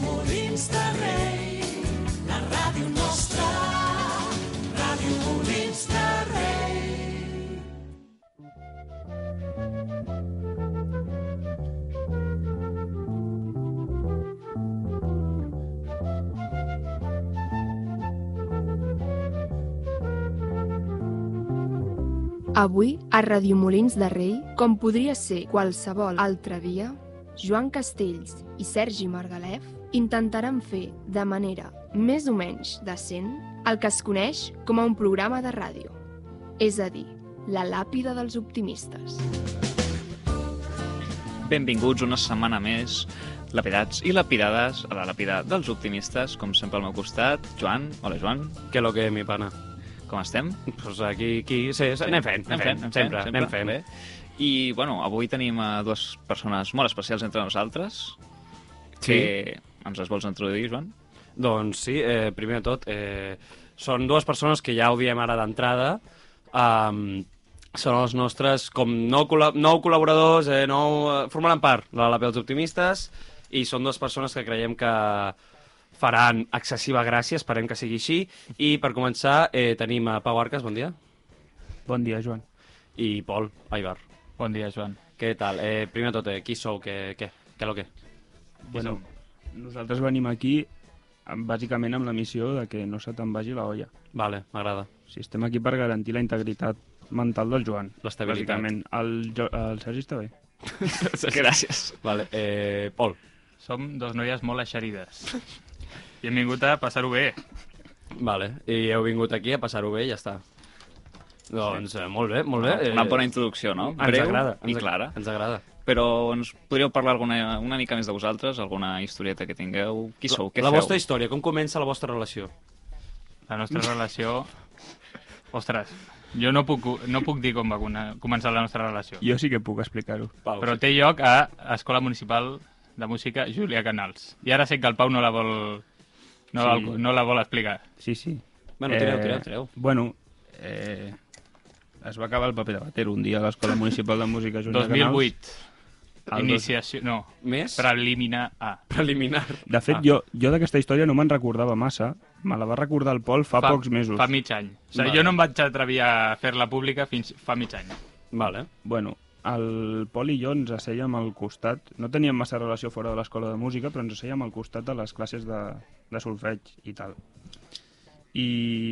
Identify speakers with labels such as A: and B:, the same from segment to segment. A: Molins de Rei, la ràdio nostra, Ràdio Molins de Rei.
B: Avui, a Radiomolins de Rei, com podria ser qualsevol altre dia, Joan Castells i Sergi Margalef intentaran fer, de manera més o menys decent, el que es coneix com a un programa de ràdio, és a dir, la làpida dels optimistes.
C: Benvinguts una setmana més, lapidats i lapidades, a la làpida dels optimistes, com sempre al meu costat. Joan, hola Joan,
D: Que lo que, mi pana.
C: com estem?
D: Pues aquí, aquí, sí, sí, anem fent, anem fent, sempre, anem fent.
C: Bé. I, bueno, avui tenim a dues persones molt especials entre nosaltres,
D: Eh,
C: que ens les vols introduir, Joan?
D: Doncs sí, eh, primer de tot, eh, són dues persones que ja odiem ara d'entrada, um, són els nostres com nou, col·la nou col·laboradors, eh, nou, eh, formaran part de la Peu dels Optimistes, i són dues persones que creiem que faran excessiva gràcia, esperem que sigui així, i per començar eh, tenim a Pau Arcas, bon dia,
E: Bon dia, Joan.
D: i Pol Aibar.
E: Bon dia, Joan.
D: Què tal? Eh, primer de tot, eh, qui sou? Què, què? Què lo que?
E: Bueno, nosaltres venim aquí amb- bàsicament amb la missió de que no se te'n vagi la olla.
D: Vale, m'agrada.
E: O sigui, estem aquí per garantir la integritat mental del Joan.
D: L'estabilitat.
E: Bàsicament, el, Jo- el Sergi està bé.
C: Gràcies.
D: Vale, eh, Pol,
F: Som dos noies molt eixerides. I hem vingut a passar-ho bé.
D: vale. I heu vingut aquí a passar-ho bé i ja està. Doncs eh, molt bé, molt bé. Eh,
C: Una bona introducció, no?
D: Ens
C: Breu
D: agrada.
C: i
D: ens,
C: clara.
D: Ens agrada.
C: Però ens podríeu parlar alguna, una mica més de vosaltres, alguna historieta que tingueu? Qui sou? Què
D: la
C: feu?
D: vostra història, com comença la vostra relació?
F: La nostra relació... Ostres, jo no puc, no puc dir com va cona- començar la nostra relació.
E: Jo sí que puc explicar-ho.
D: Pau,
F: Però
D: sí.
F: té lloc a Escola Municipal de Música Júlia Canals. I ara sé que el Pau no la vol... No,
E: Sí.
F: sí. no la vol explicar.
E: Sí, sí.
D: Bueno,
E: eh,
D: tireu, tireu, tireu.
E: Bueno, eh, es va acabar el paper de bater un dia a l'Escola Municipal de Música Júnior Canals.
F: 2008.
E: El dos-
F: Iniciació... No.
D: Més?
F: Preliminar ah, A.
D: Preliminar.
E: De
D: Ah.
E: fet, jo, jo d'aquesta història no me'n recordava massa. Me la va recordar el Pol fa, pocs mesos.
F: Fa mig any. O sigui,
D: Vale.
F: jo no em vaig atrevir a fer-la pública fins fa mig any.
D: Vale.
E: Bueno, el Pol i jo ens asseiem al costat, no teníem massa relació fora de l'escola de música, però ens asseiem al costat de les classes de, de solfeig i tal. I,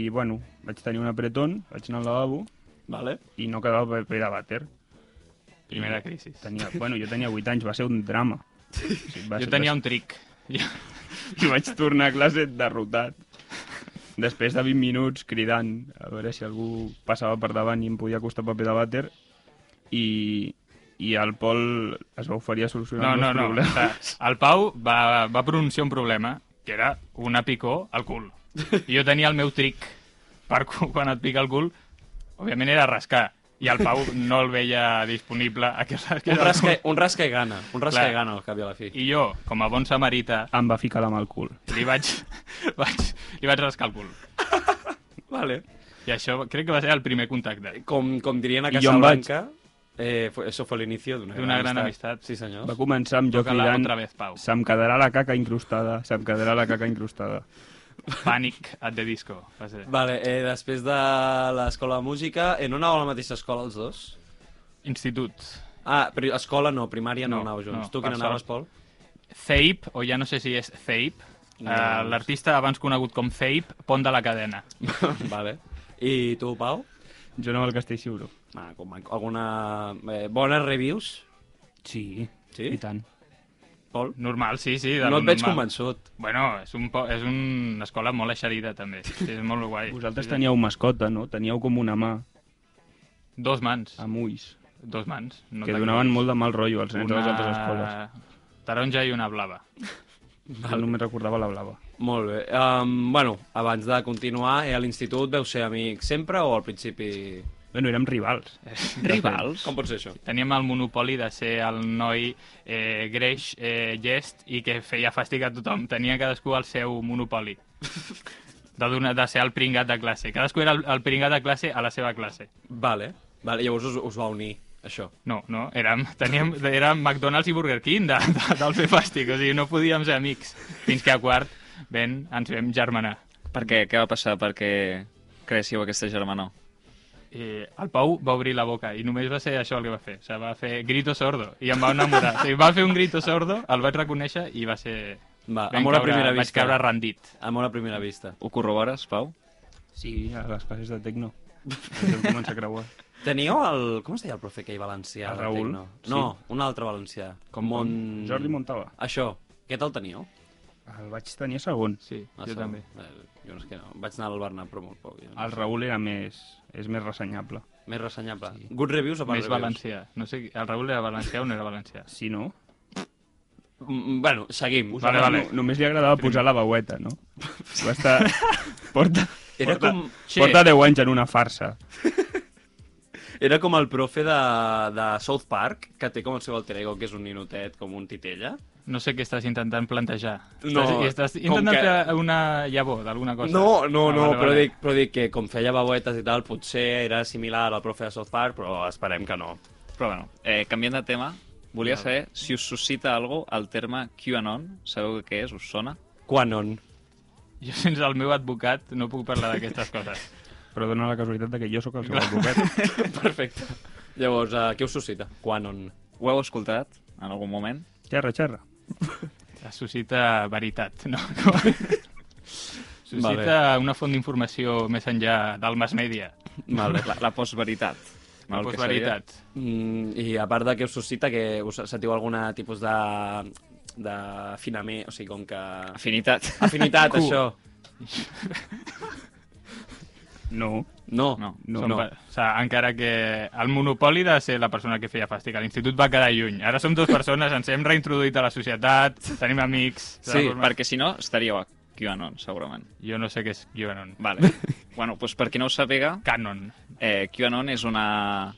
E: bueno, vaig tenir un apretón, vaig anar al lavabo
D: Vale.
E: i no quedava paper de vàter.
F: Primera crisi.
E: Tenia, bueno, jo tenia 8 anys, va ser un drama. O sigui, va
F: Jo
E: ser-
F: tenia un tric. Jo,
E: I vaig tornar a classe derrotat. Després de 20 minuts cridant a veure si algú passava per davant i em podia costar paper de vàter i, i el Pol es va oferir a solucionar
F: no,
E: el
F: no,
E: nostre
F: no. O
E: problema.
F: sigui, El Pau va, va pronunciar un problema, que era una picó al cul. I jo tenia el meu tric per cu- quan et pica el cul, òbviament era rascar. I el Pau no el veia disponible a que rasqués
D: Un
F: el
D: rasca,
F: cul.
D: un rasca i gana. Un rasca
F: Clar.
D: i gana, al cap i a la fi.
F: I jo, com a bon samarita,
E: Em va ficar la mà al cul.
F: li vaig, vaig, li vaig rascar el cul.
D: Vale.
F: I això crec que va ser el primer contacte.
D: Com, com dirien a
E: I jo em vaig.
D: Casablanca, eh, fue- eso fue el inicio d'una
F: D'una gran amistat.
D: Sí, senyor.
E: Va començar amb jo
F: Toca-la
E: cridant
F: otra vez, Pau.
E: se'm quedarà la caca incrustada, se'm quedarà la caca incrustada.
F: Panic at the disco. Va ser.
D: Vale, eh, després de l'escola de música, eh, no anàveu a la mateixa escola els dos?
F: Institut.
D: Ah, però escola no, primària no,
F: No,
D: no anava junts.
F: no,
D: tu quina
F: per
D: anaves, Pol?
F: sort. Thape, o ja no sé si és Thape,
D: No.
F: no. uh, l'artista abans conegut com Thape, Pont de la Cadena.
D: vale. I tu, Pau?
E: Jo no al Castell Ciuro.
D: Ah, com, alguna... Eh, bones reviews,
E: Sí,
D: Sí?
E: i tant.
D: Pol?
F: Normal, sí, sí. de
D: No
F: lo
D: et veig
F: normal.
D: convençut.
F: Bueno, és, un po és una escola molt eixerida, també. Sí, és molt guai.
E: Vosaltres
F: Sí, sí.
E: teníeu mascota, no? Teníeu com una mà
F: Dos mans.
E: amb ulls,
F: Dos mans. No
E: que
F: t'equivoquis.
E: donaven molt de mal rotllo als nens de les altres escoles.
F: taronja i una blava.
E: Jo només recordava la blava.
D: Molt bé. Um, bueno, abans de continuar, eh, a l'institut veu ser amic sempre o al principi...
E: Bueno, érem rivals.
C: Rivals?
D: Com pot ser això?
F: Teníem el monopoli de ser el noi eh, greix, eh, llest i que feia fàstic a tothom. Tenia cadascú el seu monopoli. De, donar, de ser el pringat de classe. Cadascú era el, el pringat de classe a la seva classe.
D: Vale. Vale, llavors us, us va unir. això.
F: No, no, érem, teníem, érem McDonald's i Burger King de, de, del fer fàstic, o sigui, no podíem ser amics. Fins que a quart ben, ens vam germanar.
C: Per què? Què va passar? Perquè creéssiu aquesta germanor?
F: I el Pau va obrir la boca i només va ser això el que va fer. O sigui, va fer grito sordo i em va enamorar. O sigui, va fer un grito sordo, el vaig reconèixer i va ser...
D: Va,
F: vam
D: Ah, amor a
F: caure-
D: primera
F: vaig
D: vista.
F: caure rendit.
D: Amor a primera vista.
C: Ho corrobores, Pau?
E: Sí, a les classes de Tecno. Ens vam començar a creuar.
D: Teníeu el... Com es deia el profe aquell valencià?
E: El
D: de
E: Raül?
D: Tecno? No, un altre valencià. Com Mon...
E: Jordi Montava.
D: Això. Què tal teníeu?
E: El vaig tenir segon.
F: Sí,
D: Ah,
F: jo
D: segon.
F: també.
D: Eh, jo no és que no. Vaig anar al Bernat, però molt poc. Jo. no
E: El
D: sé.
E: Raül era més, és més ressenyable.
D: Més ressenyable. Sí. Good reviews o bad
F: Més
D: reviews?
F: valencià. No sé, qui- el Raül era valencià o no era valencià?
E: Si no,
D: Mm, bueno, seguim.
F: Vale, vale.
E: no només li agradava posar la veueta, no? Va estar... Porta,
D: Era
E: porta,
D: com- Che.
E: porta 10 anys en una farsa.
D: Era com el profe de, de South Park, que té com el seu alter ego, que és un ninotet, com un titella.
F: No sé què estàs intentant plantejar. Estàs,
D: No,
F: estàs
D: com
F: intentant
D: que-
F: que... una llavor d'alguna cosa.
D: No, no,
F: Ah,
D: no,
F: vale,
D: però,
F: vale.
D: Dic, però dic que com feia baboetes i tal, potser era similar al profe de South Park, però esperem que no.
C: Però bueno, eh, canviant de tema, volia saber si us suscita algo el terme QAnon. Sabeu què és? Us sona?
D: Quanon.
F: Jo sense el meu advocat no puc parlar d'aquestes coses.
E: Però dona la casualitat de que jo sóc el seu advocat.
D: Perfecte. Llavors, uh, què us suscita? Quanon.
C: Ho heu escoltat en algun moment?
E: Xerra, xerra.
F: Es suscita veritat, no? suscita vale. una font d'informació més enllà del mass media. Doncs
D: Vale.
C: La, la postveritat. no?
F: La
C: El que
F: postveritat.
D: Mm, I a part de què us suscita, que us sentiu algun tipus de d'afinament, o sigui, com que...
C: seria Afinitat.
D: Afinitat,
F: Cu.
D: això.
E: No.
D: No.
C: No.
E: No,
F: Som
E: no.
F: pa- O sigui, encara que el monopoli de ser la persona que feia fàstic a l'institut va quedar lluny. Ara som dues persones, ens hem reintroduït a la societat, tenim amics...
C: Sí,
F: Forma-
C: perquè si no estaríeu a QAnon, segurament.
F: Jo no sé què és QAnon.
C: Vale. bueno, doncs per qui no ho sàpiga,
F: Canon.
C: eh, QAnon és una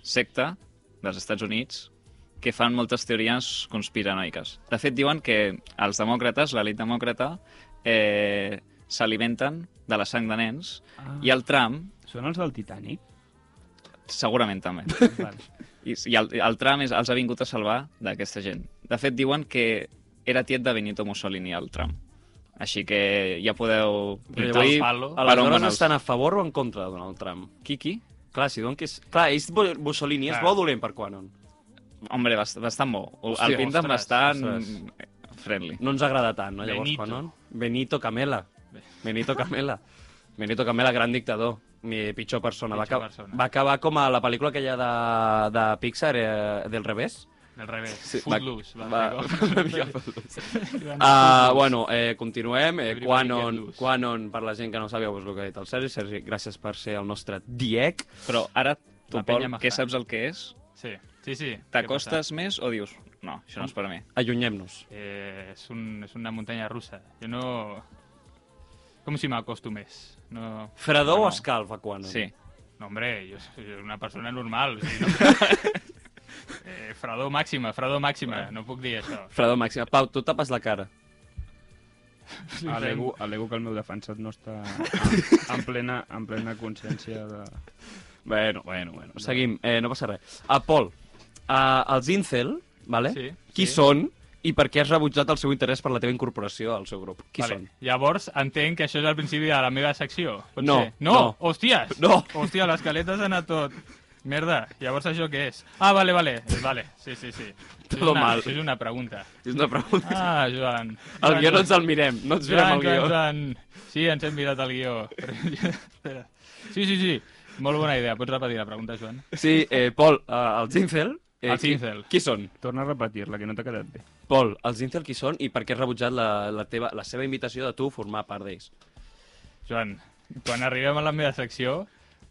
C: secta dels Estats Units que fan moltes teories conspiranoiques. De fet, diuen que els demòcrates, l'elit demòcrata, eh, s'alimenten de la sang de nens
E: Ah.
C: i el Trump
E: Són els del Titanic?
C: segurament també.
E: Vale.
C: I, i el, el Trump és, els ha vingut a salvar d'aquesta gent. De fet, diuen que era tiet de Benito Mussolini, el Trump. Així que ja podeu
D: Però
C: intuir per
F: llavors-
C: on van
D: Aleshores,
C: els-
D: estan a favor o en contra de Donald Trump?
C: Qui, qui?
D: Clar, si doncs que és... Clar, és bo- Mussolini, és
F: Clar.
D: bo o dolent per Quanon.
C: Hombre, bast bastant bo. Hòstia,
D: Hòstia,
C: el pinten
F: ostres,
C: bastant
D: ostres.
C: friendly.
D: No ens agrada tant, no? Llavors,
F: Benito.
D: Quanon. Benito Camela. Benito Camela. Benito Camela, gran dictador. Mi pitjor persona.
F: Pitjor
D: va, acab-
F: persona.
D: va acabar com a la pel·lícula aquella de, de Pixar, eh, del revés.
F: Del revés.
D: Sí,
F: Sí,
D: va-
F: Footloose. Va,
D: va-
F: fer
D: una
F: com-
D: mica Ah,
F: Ah,
D: bueno, eh, continuem. Eh,
F: Everybody can
D: Quanon,
F: lose.
D: Quanon, per la gent que no sàpiga, pues, el que ha dit el Sergi. Sergi, gràcies per ser el nostre diec.
C: Però ara, tu,
F: La
C: Pol,
F: penya majada.
C: què saps el que és?
F: Sí, sí, sí. Què passa?
C: T'acostes més o dius, no, això no és per mi.
D: Allunyem-nos.
F: Eh, és, un, és una muntanya russa. Jo no... Com si m'acosto més? No...
D: Fredor o
F: No.
D: escalf, a Quanon?
C: Sí.
F: No, hombre, jo soy una persona normal. O sigui, no... eh, fredor màxima, fredor màxima. No puc dir això.
D: Fredor màxima. Pau, tu tapes la cara.
E: Alego, alego que el meu defensat no està en plena, en plena consciència de...
D: Bueno, bueno, bueno. Seguim, eh, no passa res. A Pol, a, els Incel, vale?
F: Sí,
D: qui
F: sí.
D: són i per què has rebutjat el seu interès per la teva incorporació al seu grup? Qui
F: vale. Llavors, entenc que això és el principi de la meva secció. Pot
D: No,
F: ser? No,
D: no.
F: hòsties!
D: No.
F: Hòstia, l'escaleta s'ha anat tot. Merda, llavors això què és? Ah, vale, vale, vale, sí, sí, sí. Això és
D: Todo
F: una,
D: mal.
F: Això és una pregunta.
D: són? És una pregunta.
F: Ah, Joan.
D: El
F: Joan,
D: guió no ens el mirem, no ens mirem
F: Joan,
D: el
F: Joan,
D: guió.
F: Joan. Sí, ens hem mirat el guió. Espera. sí, sí, sí. Molt bona idea. Pots repetir la pregunta, Joan?
D: Sí, eh, Pol, eh, els Incel... Eh,
F: Els
D: qui-
F: incel.
D: Qui, són?
E: Torna a repetir-la, que no t'ha quedat bé.
D: Pol, els Incel qui són i per què has rebutjat la, la, teva, la seva invitació de tu formar part d'ells?
F: Joan, quan arribem a la meva secció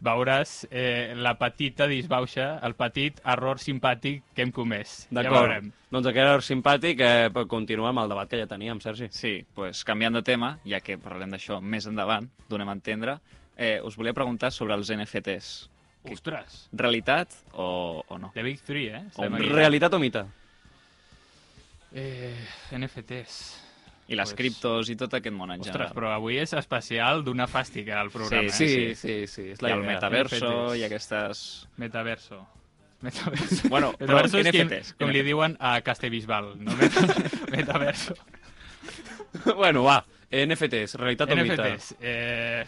F: veuràs eh, la petita disbauxa, el petit error simpàtic que hem comès. Ja veurem.
D: doncs aquest era simpàtic, eh, per continuar amb el debat que ja teníem, Sergi.
C: Sí, pues, canviant de tema, ja que parlem d'això més endavant, donem a entendre, eh, us volia preguntar sobre els NFTs.
F: Ostres,
C: Realitat o, o no?
F: The Big Three, eh? Estem
C: Hombre.
F: aquí.
D: Realitat o mita?
F: Eh, NFTs.
C: I les
F: Pues-
C: criptos i tot aquest món en
F: Ostres,
C: general.
F: però avui és especial d'una fàstica al programa.
C: Sí,
F: eh?
D: sí, sí, és
C: I el
D: idea.
C: metaverso
F: NFTs.
C: i aquestes...
F: Metaverso. Metaverso.
C: Bueno, però
F: metaverso és com,
C: NFTs,
F: com li
C: NFTs.
F: diuen a Castellbisbal, no? Meta- Metaverso.
D: bueno, va, NFTs, realitat o mite.
F: NFTs. Eh,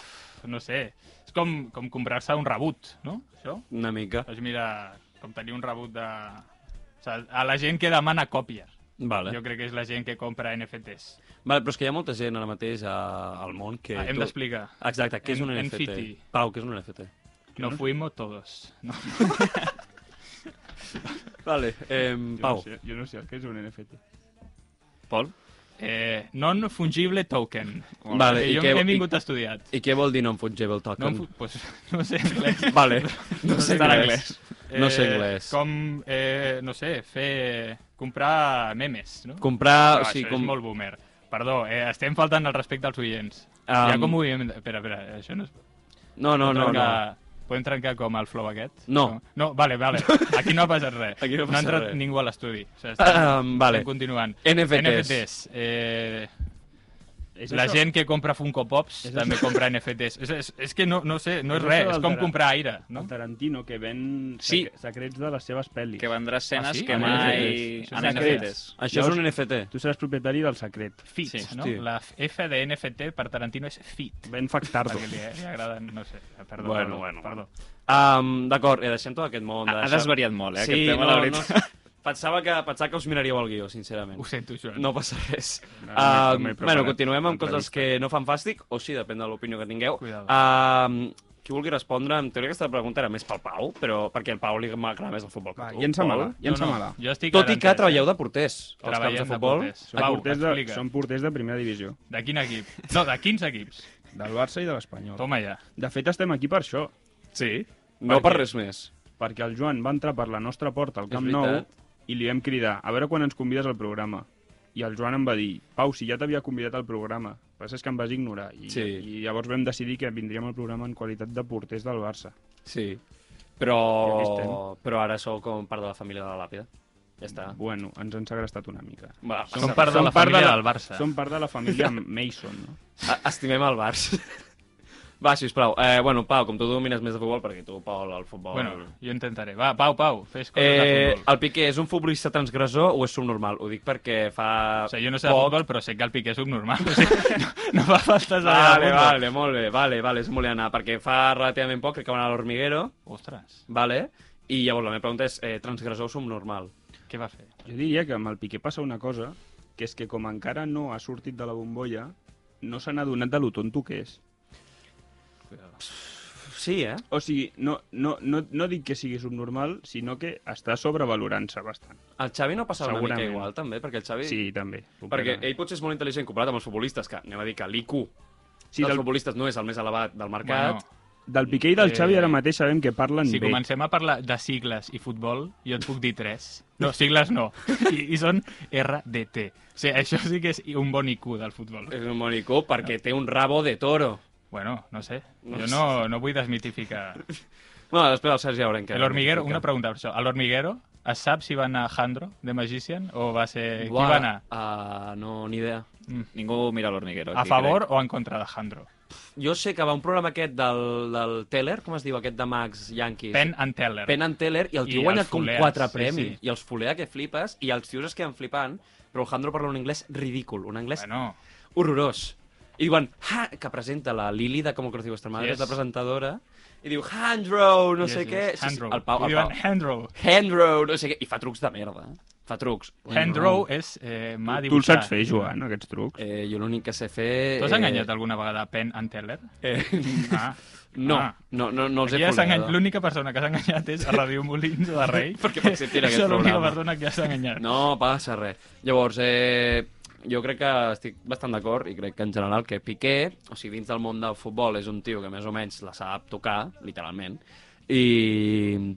F: no sé. És com, com comprar-se un rebut, no? Això?
D: Una mica.
F: Doncs mira, com tenir un rebut de... O sigui, a la gent que demana còpia.
D: Vale.
F: Jo crec que és la gent que compra NFTs.
D: vale, però és que hi ha molta gent ara mateix a, al món que...
F: Ah, hem
D: tu-
F: d'explicar.
D: Exacte, què és un
F: En-
D: NFT?
F: NFT.
D: Pau, què és un NFT?
F: No fuimos todos. No.
D: Vale, eh,
E: Jo
D: Pau.
E: No sé, jo no sé el que és un NFT.
C: Pol?
F: Eh, Non-fungible token.
D: Vale,
F: Eh,
D: i
F: jo
D: què-
F: he vingut
D: i-
F: a estudiar.
D: I què vol dir non-fungible token?
F: No, em fu- pues, no sé anglès.
D: Vale, no sé
C: Està en
D: anglès. No sé anglès.
F: Eh, Com, eh, no sé, fer... comprar memes, no?
D: Comprar...
F: Ah,
D: o sigui,
F: això
D: com...
F: és molt boomer. Perdó, eh, estem faltant al respecte als oients. Um...
D: Am.
F: Ja com ho havíem... de- Espera, espera, això no és...
D: Ah, mm. No, no, no, no.
F: no. Podem trencar com el flow aquest?
D: No.
F: No, no vale, vale. Aquí no ha passat res.
D: Aquí no ha
F: no ha
D: passat
F: entrat
D: res.
F: ningú a l'estudi. O sigui,
D: Ah, um, vale.
F: Estem continuant.
D: NFTs.
F: NFTs. Eh,
E: És
F: la
E: això?
F: gent que compra Funko Pops
E: És
F: també
E: això?
F: compra NFTs. És, és, és que no, no sé, no
E: És
F: és
E: això
F: res.
E: del
F: És com
E: Taran-
F: comprar aire,
E: No?
F: no?
E: El Tarantino, que ven
C: Sí.
E: sec- secrets de les seves pel·lis.
C: Que vendrà escenes
F: Ah, sí?
C: que
F: En
C: mai...
E: NFTs.
C: En
D: Ah,
E: Això és
C: NFTs.
D: Això és un NFT.
E: Tu seràs propietari del secret.
F: Fit,
C: Sí.
F: no?
D: Hosti.
F: La F de NFT per Tarantino és fit.
E: Ben factardo.
F: Perquè li, li agraden, no sé. Perdó,
D: Bueno,
F: perdó,
D: bueno,
F: perdó.
D: Um, D'acord, eh, deixem tot aquest món.
C: Ha, ha
D: deixem-
C: desvariat molt, eh,
D: Sí,
C: aquest tema,
D: no,
C: la veritat.
D: No, pensava, que, pensava que us miraríeu el guió, sincerament.
F: Ho sento, Joan.
D: No passa res.
E: No,
D: Uh,
E: no m'he- no m'he
D: bueno,
E: preparat
D: continuem amb coses
E: l'entrevista.
D: que no fan fàstic, o sí, depèn de l'opinió que tingueu.
F: Cuidado.
D: Uh, qui vulgui respondre, en teoria aquesta pregunta era més pel Pau, però perquè el Pau li m'agrada més el futbol que
E: Va,
D: tu.
E: llença-me-la,
D: Pol.
E: llença-me-la.
F: Jo estic
D: Tot i que
F: garantès, eh?
D: treballeu de porters als camps
F: Treballem
D: de
F: de
D: futbol.
F: porters.
E: Són,
F: Pau,
E: porters de,
F: explica.
E: són porters de primera divisió,
F: De quin equip? No, de 15 equips.
E: del Barça i de l'Espanyol.
F: Toma ja.
E: De fet, estem aquí per això,
D: Sí. No
E: Perquè-
D: per res més.
E: perquè el Joan va entrar per la nostra porta al
D: És
E: Camp Nou
D: veritat.
E: i li vam cridar, a veure quan ens convides al programa. I el Joan em va dir, Pau, si ja t'havia convidat al programa, el que passa és que em vas ignorar. I,
D: Sí.
E: I llavors vam decidir que vindríem al programa en qualitat de porters del Barça.
D: Sí.
E: I aquí
D: Però,
E: estem.
D: però ara sou com part de la família de la làpida. Ja està.
E: Bueno, ens han segrestat una mica.
D: Va,
F: Som
D: passa
F: part de
E: Som
F: la
E: part
F: família
E: de la-
F: del
D: Ah.
F: Barça.
E: Som part de la família Mason, no?
D: A- Estimem el Barça. Va, sisplau. Eh, bueno, Pau, com tu domines més de futbol, perquè tu, Pau, el futbol...
F: Bueno, jo intentaré. Va, Pau, Pau, fes coses de
D: eh,
F: futbol.
D: el Piqué és un futbolista transgressor o és subnormal? Ho dic perquè fa...
F: O sigui, jo no sé de futbol, però sé que el Piqué és subnormal. O sigui, no, no fa falta saber de
D: Vale,
F: futbol.
D: vale, molt bé, vale, vale, és molt bé anar, perquè fa relativament poc, crec que van a l'Hormiguero,
F: Ostres,
D: vale? i llavors la meva pregunta és, eh, transgressor o subnormal?
F: què va fer?
E: Jo diria que amb el Piqué passa una cosa, que és que com encara no ha sortit de la bombolla, no se n'ha adonat de lo tonto que és.
D: Sí, eh?
E: O sigui, no, no, no, no dic que sigui subnormal, sinó que està sobrevalorant-se bastant.
D: El Xavi no passa una mica
E: Segurament.
D: igual, també, perquè el Xavi...
E: Sí, també.
D: Perquè ell potser és molt intel·ligent comparat amb els futbolistes, que anem a dir que l'IQ
E: Sí,
D: sí, dels
E: del-
D: futbolistes no és el més elevat del mercat.
F: Bueno,
E: Del Piqué i del
F: Eh,
E: Xavi ara mateix sabem que parlen
F: si
E: bé.
F: comencem a parlar de sigles i futbol, jo et puc dir tres. No, sigles no. I, i són RDT. O sigui, això sí que és un bon IQ del futbol.
D: És un monico perquè té un rabo de toro.
F: Bueno, no sé.
D: No
F: Jo
D: sé.
F: no, no vull desmitificar
D: Bueno, després del Sergi ja veurem què...
F: El hormiguero, una pregunta per això. El hormiguero, es sap si va anar Jandro, de Magician, o va ser... Eh, Qui va anar?
D: Uh, no, ni idea.
C: Ningú mira l'hormiguero.
F: A
C: aquí,
F: favor o en contra de Jandro?
D: Jo sé que va un programa aquest del, del Teller, com es diu, aquest de Max Yankees.
F: Penn and Teller.
D: Penn and Teller, i el
F: I
D: tio
F: els
D: ha guanyat com
F: Fulers,
D: quatre
F: sí,
D: premis.
F: sí.
D: I els fulea que flipes, i els tios es queden flipant, però el Jandro parla un anglès ridícul, un anglès
F: Bueno,
D: horrorós. I diuen, ha, que presenta la Lili de Com conocido vuestra madre,
F: Yes.
D: és la presentadora, i diu, Handro, no sé què... Sí, sí,
F: Handrow.
D: el Pau,
F: Li
D: el
F: diuen
D: Pau.
F: Handrow.
D: Handro, no sé què, i fa trucs de merda. eh? Fa trucs.
F: Handrow és eh, mà
E: Tu
F: dibuixar.
E: el saps fer, Joan, aquests trucs?
D: Eh, jo l'únic que sé fer...
F: Tu has
D: eh,
F: enganyat alguna vegada a Penn and Teller?
D: Eh,
F: Ah.
D: no,
F: Ah.
D: no, no, no els
F: Aquí
D: he
F: has engany-
D: folgat.
F: L'única persona que has enganyat és a Ràdio Molins de Rei.
D: Perquè m'acceptin aquest
F: És l'única
D: programa.
F: persona que has enganyat.
D: No passa res. Llavors, eh, jo crec que estic bastant d'acord i crec que en general que Piqué, o sigui, dins del món del futbol és un tio que més o menys la sap tocar, literalment, i...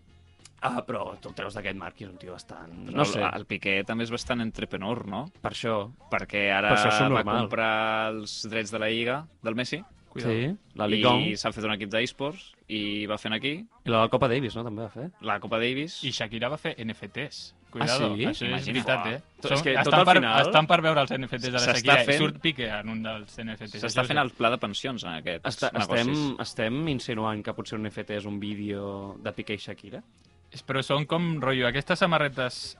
D: Ah, però tu el treus d'aquest marc i és un tio bastant...
C: crec.
D: No sé,
C: El Piqué també és bastant entreprenor, no?
D: per això...
C: Perquè ara
D: Per això és
C: va
D: subnormal.
C: comprar els drets de la Lliga del Messi
F: Cuidao.
D: Sí, la Ligong
C: i
D: i...
C: s'ha fet un equip d'esports i va fent aquí
D: i la Copa Davis, no? També va fer.
C: la Copa Davis.
F: I Shakira va fer NFTs. Cuidado,
D: Ah, sí?
F: això és
D: Imagina.
F: veritat, eh?
D: Tot- és que tot
F: estan,
D: al
F: per,
D: final-
F: estan per veure els NFTs de la
C: S'està
F: Shakira fent...
C: fent-
F: i surt Piqué en un dels NFTs.
C: S'està
F: Això
C: fent
F: és-
C: el pla de pensions en aquests
D: Està,
C: negocis.
D: estem, estem insinuant que potser un NFT és un vídeo de Piqué i Shakira?
F: És- Però són com, rotllo, aquestes samarretes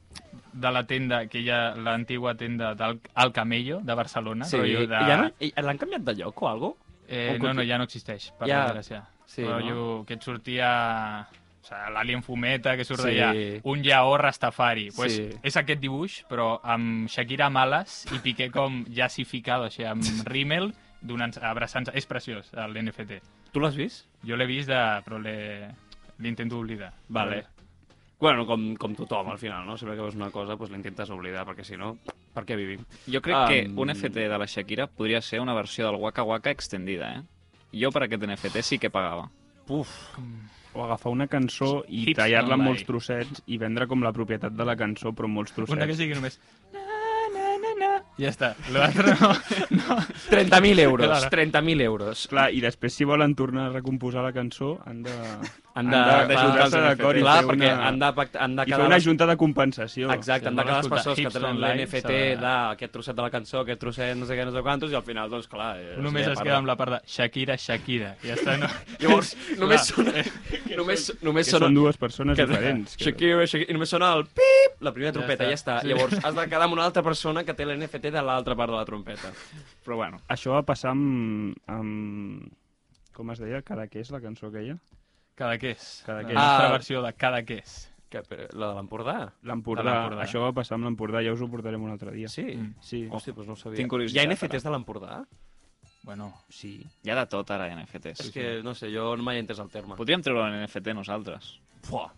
F: de la tenda, que hi ha l'antiga tenda del Al Camello, de Barcelona.
D: Sí,
F: rotllo de...
D: i ja no- i- l'han canviat de lloc o alguna cosa?
F: Eh,
D: O
F: no, no,
D: conti-
F: ja no existeix, per
D: Ja.
F: ja. desgràcia.
D: Sí,
F: Sí, Rotllo, que et sortia... O sigui, l'Alien Fumeta, que surt
D: Sí.
F: sí. d'allà, un lleó Rastafari. Pues
D: Sí.
F: És aquest dibuix, però amb Shakira Males i Piqué com jassificado, així, amb rímel, donant- abraçant-se. És preciós, l'NFT.
D: Tu l'has vist?
F: Jo l'he vist, de, però l'he- l'intento oblidar.
D: Vale. Bueno, com, com tothom, al final, no? Sempre que veus una cosa, doncs l'intentes oblidar, perquè si no, per què vivim?
C: Jo crec que
D: Am.
C: un FT de la Shakira podria ser una versió del Waka Waka extendida, eh? Jo per aquest NFT sí que pagava.
D: Puf,
E: O agafar una cançó i
F: Hits
E: tallar-la en
F: online.
E: molts trossets i vendre com la propietat de la cançó, però en molts trossets.
F: Una que sigui només... Na, na, na, na. Ja està. L'altre no.
D: 30.000 euros,
F: Claro.
D: 30.000 euros.
E: Clar, i després si volen tornar a recomponsar la cançó han de...
D: Han de,
E: Han de-
D: clar,
E: d'ajuntar-se
D: clar,
E: d'acord i
D: clar,
E: fer
D: perquè
E: una-
D: han de, pact- han de
E: I
D: quedar
E: fer una
D: les-
E: junta de compensació.
D: Exacte,
F: Si
D: han de
F: vols
D: quedar les
F: escoltar
D: persones que
F: Hips
D: tenen
F: Online,
D: l'NFT
F: s'ha de-
D: d'aquest trosset de la cançó, aquest trosset no sé què, no sé quantos, i al final, doncs, clar... eh,
F: Només
D: ja
F: es
D: parla.
F: queda amb la part de Shakira, Shakira. Ja està, no?
D: Llavors, només
F: Clar. Eh,
D: sona... només,
E: Que
D: només
E: són,
D: sona...
E: dues persones
D: que-
E: diferents. Que...
D: Shakira, Shakira, i només sona el pip, la primera
F: Ja
D: trompeta,
F: està.
D: ja està.
F: Sí.
D: Llavors, has de quedar amb una altra persona que té l'NFT de l'altra part de la trompeta.
C: Però bueno,
E: Això va passar amb... amb... Com es deia? Cadaqués, la cançó aquella?
F: Cadaqués.
E: Cadaqués.
F: La nostra
D: Ah.
F: versió de Cadaqués.
D: Que, però, la de l'Empordà?
E: L'Empordà.
F: A l'Empordà.
E: Això va passar amb l'Empordà, ja us ho portarem un altre dia.
D: Sí?
F: Mm.
E: Sí. Oh.
D: Hòstia, doncs no ho sabia.
C: Tinc curiositat,
D: Hi ha NFTs de l'Empordà?
F: Bueno,
D: Sí.
C: hi ha de tot ara NFTs.
D: És que, no sé, jo no m'he entès el terme.
C: Podríem treure un NFT nosaltres.
D: Fuà.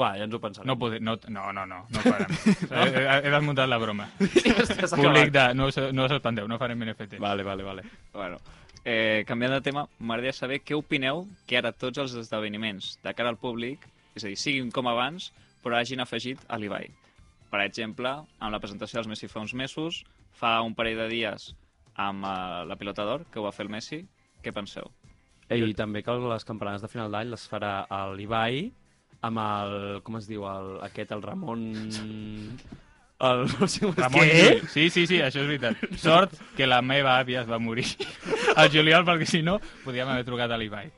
D: Va, ja ens ho pensarem.
F: no poder... No, no, no, no, no farem. he, he- he desmuntat la broma.
D: Estàs
F: Públic
D: acabat.
F: de... No, us- no us espanteu, no farem NFT.
D: Vale, vale, vale.
C: Bueno, eh, canviant de tema, m'agradaria saber què opineu que ara tots els esdeveniments de cara al públic, és a dir, siguin com abans, però hagin afegit a l'Ibai. Per exemple, amb la presentació dels Messi fa uns mesos, fa un parell de dies amb eh, la pilota d'or, que ho va fer el Messi, què penseu?
D: Ei, I també que les campanes de final d'any les farà el Ibai amb el... com es diu? El, aquest, el Ramon... El, no sé com es
F: Ramon
D: Què?
F: Llull. Sí, sí, sí, això és veritat. Sort que la meva àvia es va morir al juliol, perquè si no, podíem haver trucat a l'Ibai.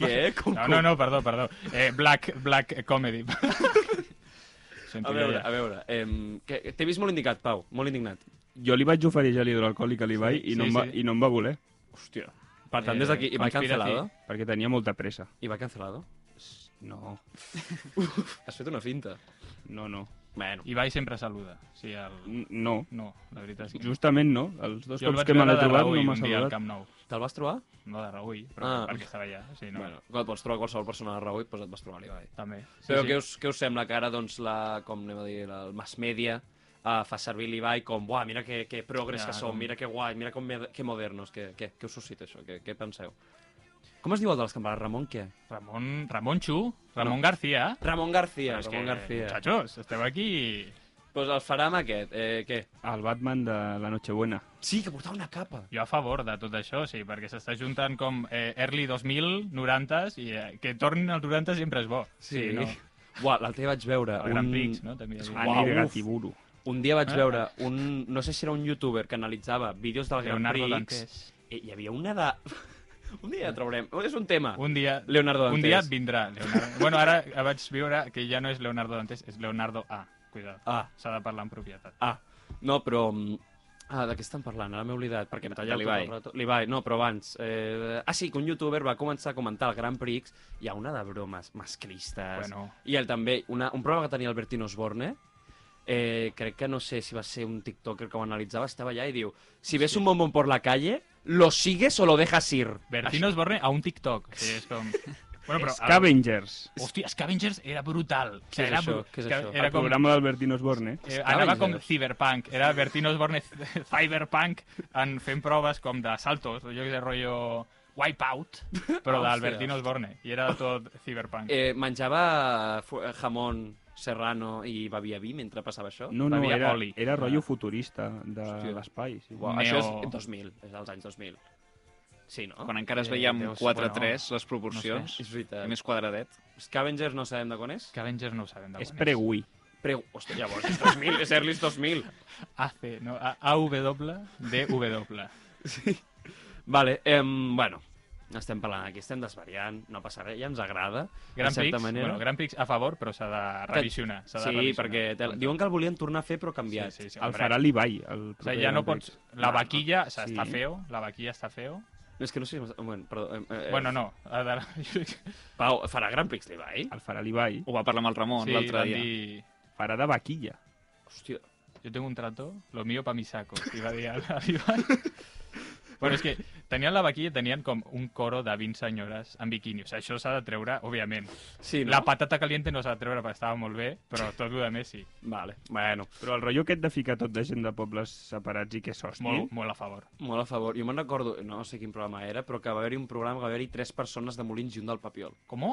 D: Què? Com,
F: No, no, no, perdó, perdó. Eh, black, black comedy.
D: A veure, a veure. Eh, que, T'he vist molt indicat, Pau. Molt indignat.
E: Jo li vaig oferir gel hidroalcohòlic a l'Ibai i,
F: Sí,
E: no
F: sí,
E: em va,
F: sí.
E: i no em va voler,
D: Hòstia. Per tant, des d'aquí,
F: Eh,
D: Ibai
F: conspiracy.
D: Cancelado.
E: perquè tenia molta pressa.
D: Ibai Cancelado.
E: No,
D: Has fet una finta.
E: no, no.
D: Bueno.
F: Ibai sempre saluda. Sí, el...
E: N- No,
F: No, la veritat és que...
E: justament no. Els dos
F: Jo el
E: cops
F: vaig
E: que me
F: veure
E: l'he
F: de
E: trobat
F: Raül
E: no m'ha
F: un dia al
E: saludat.
F: Camp Nou.
D: Te'l vas trobar?
F: No de Raül, però
D: Ah.
F: perquè estava allà. Sí, no.
D: Bueno, quan et pots trobar qualsevol persona de raó, doncs et vas trobar l'Ibai.
F: També. Sí,
D: Però
F: sí.
D: què, us, què us sembla que ara, doncs, la, com anem a dir, la- el mass media uh, fa servir l'Ibai com, buah, mira que, que progres
F: Ja,
D: que som,
F: com-
D: mira que guai, mira com med- que modernos, que, que, que us suscita això, que, què penseu? Com es diu el de les campanes? Ramon què?
F: Ramon, Ramon Chu, Ramon García.
D: Ramon García,
F: És
D: Ramon
F: que,
D: García.
F: Muchachos, esteu aquí...
D: Doncs pues el farà amb aquest, eh, què?
E: El Batman de la Nochebuena.
D: Sí, que portava una capa.
F: Jo a favor de tot això, sí, perquè s'està juntant com eh, early 2000, 90s, i eh, que tornin als 90 sempre és bo. no?
D: Buah, l'altre dia vaig veure
F: El Gran Prix, no? També hi havia.
D: Uau,
E: Anir
D: uf.
E: Gatiburu.
D: un dia vaig
F: Eh?
D: veure un... No sé si era un youtuber que analitzava vídeos del Gran
F: Leonardo
D: Prix.
F: Dantes.
D: I Eh, hi havia una de... un dia ja traurem. És un tema.
F: Un dia...
D: Leonardo Dantes.
F: Un dia vindrà Leonardo. bueno, ara vaig viure que ja no és Leonardo Dantes, és Leonardo A. Cuidado.
D: Ah.
F: S'ha de parlar en propietat.
D: Ah, no, però... mm, Ah, de què estan parlant? Ara m'he oblidat, perquè em
C: De
D: talla el tot
C: l'Ibai.
D: el rato. L'Ibai, no, però abans. Eh... Ah, sí, que un youtuber va començar a comentar el Gran Prix i a una de bromes masclistes.
F: Bueno.
D: I el, també, una, un programa que tenia Albertino Osborne, eh, crec que no sé si va ser un tiktoker que ho analitzava, estava allà i diu si ves un bombón por la calle, lo sigues o lo dejas ir.
F: Bertino Osborne a un TikTok. Sí, és com... Bueno, però...
E: Scavengers.
F: Hòstia, Scavengers era brutal. O sigui,
D: Què és
F: era
D: això?
F: bru-
D: Què és
F: Sca-
D: això?
F: Era
E: El
F: com...
E: programa d'Albertino Osborne.
F: Eh, anava com
D: Scavengers.
F: cyberpunk, era Bertino Osborne cyberpunk en fent proves com de saltos, jo que sé, rotllo wipeout, però
D: Hòstia.
F: d'Albertino Osborne, i era tot cyberpunk.
D: Eh, menjava fu- jamón serrano i bevia vi mentre passava això?
E: No, no,
F: Bevia
E: era,
F: oli. Ah.
E: era rotllo futurista de
D: Hòstia.
E: l'espai. Sí.
D: Uau,
F: Neo-
D: Això és 2000, és dels anys 2000. Sí,
F: Oh,
D: no?
C: Quan encara es
D: Eh,
C: veia amb
D: Déu,
C: 4-3
F: bueno,
C: les proporcions,
D: És veritat.
C: i més quadradet.
D: Scavengers no sabem de quan és?
F: Scavengers no ho sabem de
E: És
F: quan és.
E: pre-Wii.
D: Preu... Hòstia, llavors és 2000, és Earlys 2000.
F: AC, no, A- AW, DW.
D: Vale, em, bueno, estem parlant aquí, estem desvariant, no passa res, ja ens agrada,
F: Gran
D: de certa
F: Prix,
D: manera.
F: bueno, Gran Prix a favor, però s'ha de revisionar. s'ha de
D: Sí,
F: revisionar.
D: perquè te... diuen que el volien tornar a fer però canviat.
F: Sí, sí, sí,
E: El
F: correcte.
E: farà l'Ibai. El
F: O sigui,
E: proper
F: ja
E: Gran
F: no pots...
E: Prix.
F: La
E: Ah, No,
F: vaquilla
E: no, sí.
F: sí. està feo, la vaquilla està feo.
D: És que no sé si... Bueno, perdó, eh, eh,
F: Bueno, no. ha de-
D: Pau, farà Gran Prix l'Ibai?
E: El farà l'Ibai.
C: Ho va parlar amb el Ramon
F: sí,
C: l'altre
F: van
C: dia.
F: dir...
E: Farà de vaquilla.
D: Hòstia,
F: Yo tengo un trato, lo mío pa' mi saco, i va dir al al Ivan. bueno, és que tenien la vaquilla i tenien com un coro de 20 senyores en biquini. O sigui, això s'ha de treure, òbviament.
D: sí, no?
F: La patata caliente no s'ha de treure perquè estava molt bé, però tot el de més sí.
D: Vale, bueno,
E: Però el rotllo aquest de ficar tot de gent de pobles separats i que s'hostin...
F: Molt, molt a favor.
D: molt a favor. Jo me'n recordo, no sé quin programa era, però que va haver-hi un programa que va haver-hi tres persones de Molins i un del Papiol.
F: Com?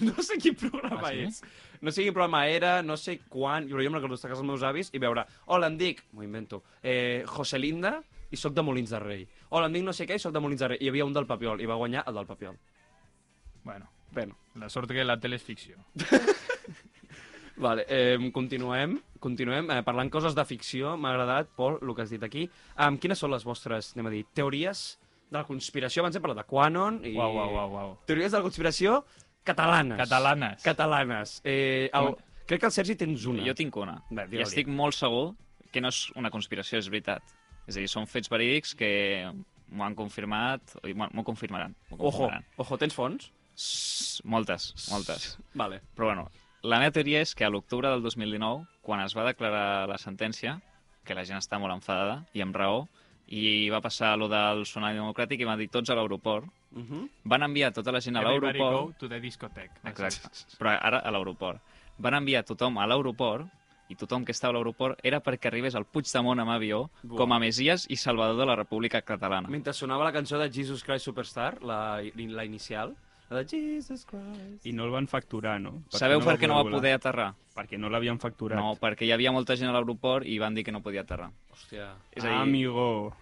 D: No sé quin programa
F: Ah, sí?
D: és. No sé quin programa era, no sé quan, però jo me'n recordo estar a casa dels meus avis i veure, hola, em dic, m'ho invento, eh, José Linda i sóc de Molins de Rei. Hola, em dic no sé què i sóc de Molins de Rei. I hi havia un del Papiol i va guanyar el del Papiol.
F: Bueno,
D: Bueno,
F: la sort que la tele és ficció.
D: vale, eh, continuem, continuem eh, parlant coses de ficció. M'ha agradat, Pol, el que has dit aquí. Um, quines són les vostres, anem a dir, teories de la conspiració? Abans hem parlat de Quanon i...
F: Uau, uau, uau, uau.
D: Teories de la conspiració catalanes.
F: Catalanes.
D: Catalanes. Eh, el... Crec que el Sergi tens una.
C: Jo tinc una.
D: Va,
C: I
D: digue-li.
C: estic molt segur que no és una conspiració, és veritat. És a dir, són fets verídics que m'ho han confirmat, i m'ho m'ho confirmaran. M'ho
D: Ojo,
C: confirmaran.
D: ojo, tens fons?
C: S- Moltes, moltes.
D: Vale.
C: Però bueno, la meva teoria és que a l'octubre del 2019, quan es va declarar la sentència, que la gent està molt enfadada, i amb raó, i va passar lo del tsunami democràtic i van dir tots a l'aeroport,
D: Uh -huh.
C: van enviar tota la gent a
F: Everybody go
C: l'aeroport...
F: to the discotheque.
C: Exacte, però ara a l'aeroport. Van enviar tothom a l'aeroport i tothom que estava a l'aeroport era perquè arribés al Puigdemont amb avió
D: Buah.
C: com a Mesies i Salvador de la República Catalana.
D: Mentre sonava la cançó de Jesus Christ Superstar, la, la inicial, la de Jesus Christ...
E: I no el van facturar, no?
C: Sabeu per què no va
E: voler
C: poder
E: volar?
C: aterrar?
E: Perquè no l'havien facturat.
C: No, perquè hi havia molta gent a l'aeroport i van dir que no podia aterrar.
D: Hòstia...
C: És a dir,
E: Amigo.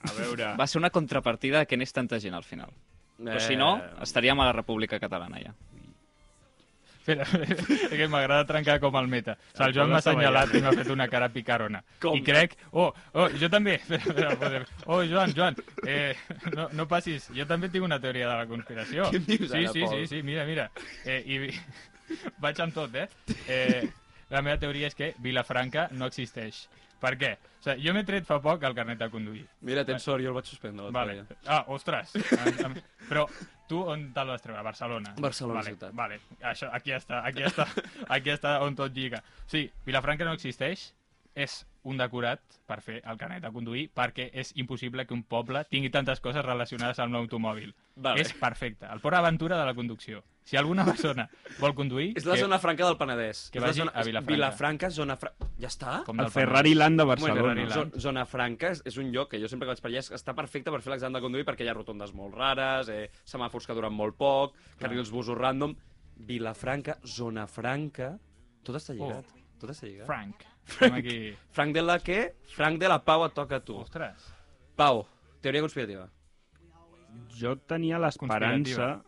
E: A veure...
C: Va ser una contrapartida que n'és tanta gent al final. Però si no,
D: Eh.
C: estaríem a la República Catalana ja.
F: Espera, és que m'agrada trencar com el meta. O sigui, el
E: Pol
F: Joan m'ha
E: està
F: assenyalat i m'ha fet una cara picarona.
D: Com?
F: I crec... Oh, oh, jo també. Espera, espera, el posem. Oh, Joan, Joan, eh, no, no passis. Jo també tinc una teoria de la conspiració.
D: Què em dius
F: sí,
D: ara,
F: sí,
D: Pol?
F: sí, sí, mira, mira. Eh, i... vi- Vaig amb tot, eh? eh? La meva teoria és que Vilafranca no existeix. Per què? O sigui, jo m'he tret fa poc el carnet de conduir.
D: Mira, tens sort, jo el vaig suspendre l'altre
F: Vale.
D: dia.
F: Ah, ostres. Em- em- Però tu on te'l vas treure? A Barcelona.
D: Barcelona
F: vale,
D: ciutat.
F: Vale. Això, aquí està, aquí està, aquí està on tot lliga. Sí, Vilafranca no existeix, és un decorat per fer el carnet de conduir perquè és impossible que un poble tingui tantes coses relacionades amb l'automòbil.
D: Vale.
F: És perfecte. El Port Aventura de la conducció. Si alguna persona vol conduir...
D: És la
F: que-
D: zona franca del Penedès.
F: que
D: és la
F: vagi
D: zona...
F: a Vilafranca.
D: Vilafranca, zona franca... Ja està?
F: com
E: El
F: del
E: Ferrari Land de
D: Bueno,
E: Barcelona.
F: Ferrari Land.
D: Zo- zona franca és, és un lloc que jo sempre que vaig per allà és- està perfecte per fer l'examen de conduir perquè hi ha rotondes molt rares, eh, semàfors que duren molt poc, carrils busos random... Vilafranca, zona franca... Tot està lligat.
E: Oh.
D: Tot està lligat.
F: Frank. Frank. Aquí.
D: Frank de la que? Frank de la Pau et toca a tu.
F: Ostres.
D: Pau, teoria conspirativa.
E: Jo tenia l'esperança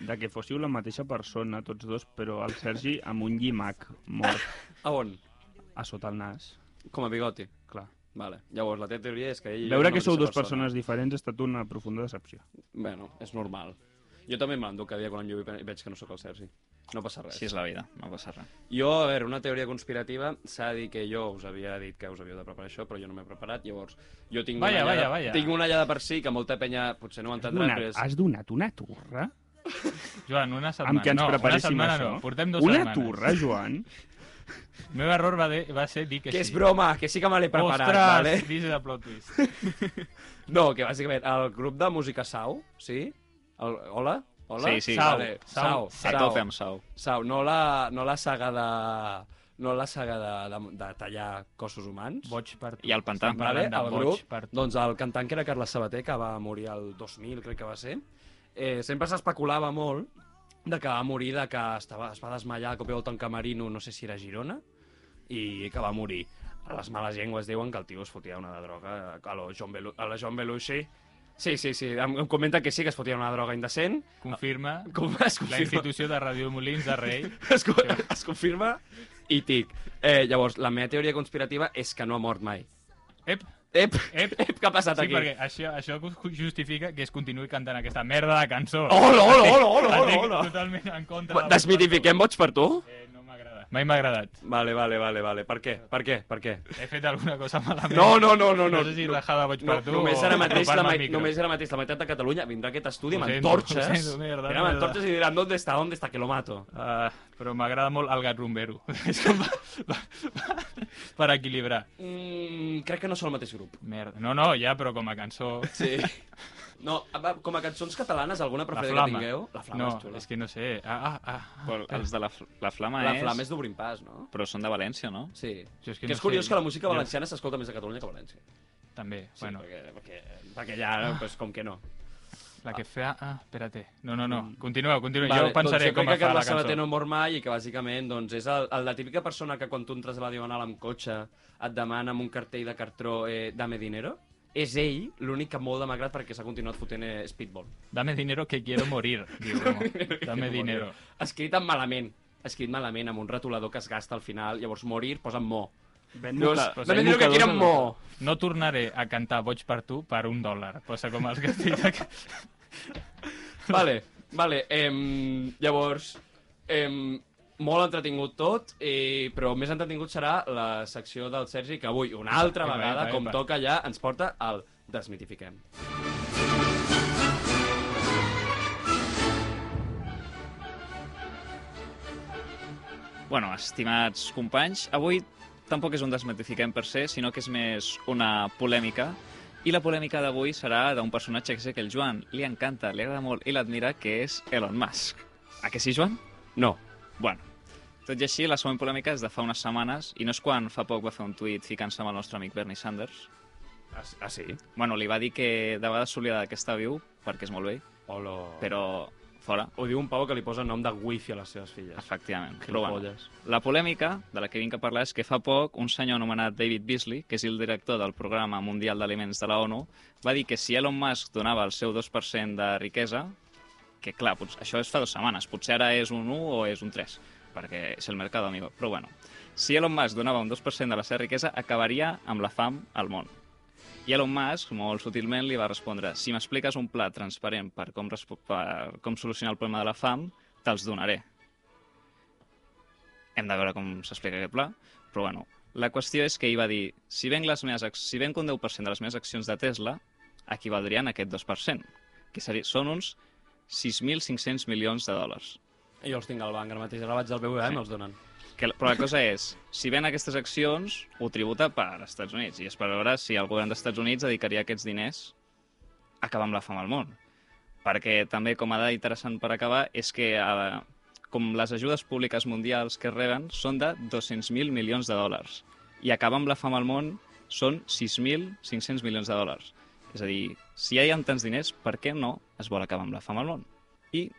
E: de que fóssiu la mateixa persona, tots dos, però el Sergi amb un llimac mort
D: A on?
E: a sota el nas,
D: Com a bigoti.
E: clar.
D: Vale. Llavors, la teva teoria és que ell... i jo
E: Veure
D: som
E: que
D: la
E: sou
D: mateixa
E: dues persones diferents ha estat una profunda decepció.
D: Bueno, és normal. Jo també m'enduc cada dia quan em lluio i veig que no sóc el Sergi. No passa res.
C: Així és la vida, no passa res.
D: Jo, a veure, una teoria conspirativa, s'ha de dir que jo us havia dit que us havíeu de preparar això, però jo no m'he preparat, llavors jo tinc,
F: Vaya,
D: una,
F: vaya,
D: llada,
F: vaya.
D: tinc una llada per si que molta penya potser no ho entendrà,
E: Donat,
D: però és...
E: Has donat una turra?
F: Joan, una setmana.
E: Amb què ens
F: no, una
E: preparéssim
F: setmana
E: això?
F: no. Portem dues
E: una
F: setmanes.
E: turra, Joan?
F: El meu error va, de, va ser dir que,
D: Que és
F: sí.
D: broma, que sí que me l'he preparat,
F: Ostres,
D: vale?
F: this is a plot twist.
D: No, que bàsicament el grup de música Sau, sí? El, hola? Hola?
C: Sí, sí.
D: Sau,
F: Sau,
D: Sau,
F: Sau,
C: A
D: Sau,
C: tope amb sau.
D: Sau, no la, no la saga de... No la saga de, de, de tallar cossos humans.
F: Boig per tu.
C: I el pantà.
D: Doncs
F: Estem
D: vale,
F: parlant de
D: el
F: boig
D: grup,
F: Per tu.
D: doncs el cantant que era Carles Sabater, que va morir el 2000, crec que va ser, eh, sempre s'especulava molt de que va morir, de que estava, es va desmallar de cop i volta en Camerino, no sé si era a Girona, i que va morir. A les males llengües diuen que el tio es fotia una de droga a lo John, Belu a la John Belushi. Sí, sí, sí, em, em comenta que sí, que es fotia una droga indecent.
F: Confirma
D: Com es
F: la
D: confirma?
F: institució de Radio Molins de Rei.
D: es, co es confirma i tic. Eh, llavors, la meva teoria conspirativa és que no ha mort mai.
F: Ep,
D: Ep,
F: Ep.
D: ep, què ha passat
F: Sí,
D: aquí?
F: perquè això, això ju- justifica que es continuï cantant aquesta merda de cançó.
D: Hola, hola, hola, hola,
F: La tinc
D: hola, hola.
F: totalment en contra. de-
D: Desmitifiquem vots per tu?
F: Eh, no m'ha agradat. Mai m'ha agradat.
D: Vale, vale, vale, vale. Per què? Per què? Per què?
F: He fet alguna cosa malament.
D: No, no, no, no,
F: No,
D: no.
F: sé si la jada vaig
D: No,
F: per tu
D: només,
F: o
D: ara mateix la,
F: apropar-me
D: ma-
F: al micro.
D: només ara mateix la meitat de Catalunya vindrà a aquest estudi
F: Ho
D: amb
F: sento,
D: antorxes.
F: ho sento, merda,
D: Vindran amb
F: merda.
D: antorxes i diran, ¿dónde está? ¿Dónde está? Que lo mato.
F: Ah, però m'agrada molt el gat rumbero. És com per, per equilibrar.
D: Mm, crec que no són el mateix grup.
F: Merda. No, no, ja, però com a cançó...
D: Sí. No, ah, va, com a cançons catalanes, alguna
F: La
D: preferida que
F: flama.
D: tingueu? La flama
F: no,
D: és xula.
F: és que no sé. Ah, ah, ah.
C: Però els de la, Fl- la Flama
D: La
C: és...
D: flama és d'obrir pas, no?
C: Però són de València, no?
D: Sí.
F: Jo és que
D: que
F: no
D: és curiós
F: sé.
D: que la música
F: Jo-
D: valenciana s'escolta més a Catalunya que a València. Sí,
F: També, bueno, Ah.
D: perquè, perquè, perquè ja, pues, com que no.
F: la que fa... Ah, espérate. No, no, no. Continueu, continueu.
D: Mm. Vale,
F: jo pensaré
D: doncs
F: com
D: crec
F: es
D: que
F: fa la
D: Carles Sabater
F: cançó.
D: no mor mai i que bàsicament doncs, és el, el, la típica persona que quan tu entres a la Diagonal amb cotxe et demana amb un cartell de cartró eh, dame dinero. És ell l'únic que molt demagrat perquè s'ha continuat fotent eh, speedball.
F: Dame dinero que quiero morir, diu. l'home. Dame dinero.
D: Escrit amb malament. Escrit malament, amb un retolador que es gasta al final. Llavors, morir, posa mo.
E: Ben
D: Llavors,
E: Lucas.
F: Pues
D: dame
F: ahí
D: dinero que
F: Lucas
D: quieren
F: Lucas.
D: mo.
F: No tornaré a cantar Boig per tu per un dòlar. Posa com els castells de...
D: Vale, vale. Em, llavors, em, molt entretingut tot, i, però més entretingut serà la secció del Sergi, que avui, una altra
F: Epa,
D: vegada,
F: epa,
D: com
F: epa.
D: toca ja, ens porta al Desmitifiquem.
C: Bueno, estimats companys, avui tampoc és un desmatifiquem per ser, sinó que és més una polèmica. I la polèmica d'avui serà d'un personatge que sé que el Joan li encanta, li agrada molt i l'admira, que és Elon Musk. A que sí, Joan?
D: No.
C: Bueno, tot i així, la següent polèmica és de fa unes setmanes, i no és quan fa poc va fer un tuit ficant-se amb el nostre amic Bernie Sanders.
D: Ah, sí?
C: Bueno, li va dir que de vegades s'oblida que està viu, perquè és molt vell,
D: Hola.
C: però fora,
D: Ho diu un pavo que li posa nom de wifi a les seves
C: Ah,
D: filles.
C: efectivament. Però bueno,
D: Gilipolles.
C: la polèmica de la que vinc a parlar és que fa poc un senyor anomenat David Beasley, que és el director del Programa Mundial d'Aliments de la ONU, va dir que si Elon Musk donava el seu 2% de riquesa, que clar, potser, això és fa dues setmanes, potser ara és un 1 o és un 3, perquè és el mercat, amigo. Però bueno, si Elon Musk donava un 2% de la seva riquesa, acabaria amb la fam al món. I Elon Musk, molt sutilment, li va respondre si m'expliques un pla transparent per com, respo- per com solucionar el problema de la fam, te'ls donaré. Hem de veure com s'explica aquest pla, però bueno, la qüestió és que ell va dir si venc, les meves, ac- si venc un 10% de les meves accions de Tesla, equivaldrien a aquest 2%, que seria, són uns 6.500 milions de dòlars.
D: Jo els tinc al banc ara mateix, ara vaig al BBVA i me'ls donen.
C: Que, la- però la cosa és, si ven aquestes accions, ho tributa per als Estats Units. I és per veure si el govern dels Estats Units dedicaria aquests diners a acabar amb la fam al món. Perquè també, com a dada interessant per acabar, és que eh, com les ajudes públiques mundials que reben són de 200.000 milions de dòlars. I acabar amb la fam al món són 6.500 milions de dòlars. És a dir, si ja hi ha tants diners, per què no es vol acabar amb la fam al món? I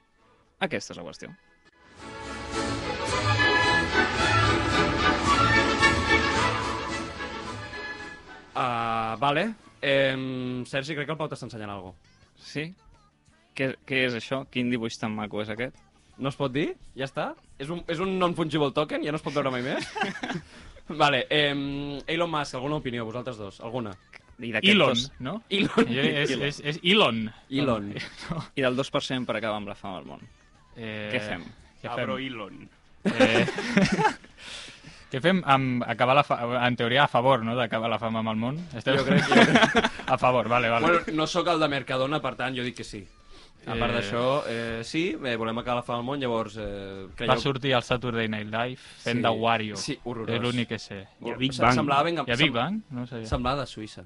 C: aquesta és la qüestió.
D: Uh, vale. Eh, Sergi, crec que el Pau t'està ensenyant alguna cosa.
C: Sí? Què, què és això? Quin dibuix tan maco és aquest?
D: No es pot dir? Ja està? És un, és un non-fungible token? Ja no es pot veure mai més? vale, eh, Elon Musk, alguna opinió, vosaltres dos? Alguna?
C: I, d'aquest
F: Elon,
C: dos-
F: no?
D: Elon.
F: Jo, és, és, és Elon.
D: Elon.
C: I del 2% per acabar amb la fama al món.
F: Eh,
C: Què fem?
D: Ah,
F: Què
E: Abro
F: fem?
E: Elon.
F: Eh, què fem amb acabar la fa... En teoria, a favor, no?, d'acabar la fama amb el món. Esteu...
D: Jo crec, jo crec.
F: A favor, vale, vale.
D: bueno, no sóc el de Mercadona, per tant, jo dic que sí. A part
F: Eh.
D: d'això, eh, sí, eh, volem acabar la fa del món, llavors... Eh,
F: Va sortir al Saturday Night Live fent
D: Sí.
F: de Wario.
D: Sí, horrorós.
F: És l'únic que sé.
E: I a Big
D: Sem-
E: Bang.
D: Semblava, vinga,
F: I a Big Bang? No ho sabia.
D: Semblava de Suïssa.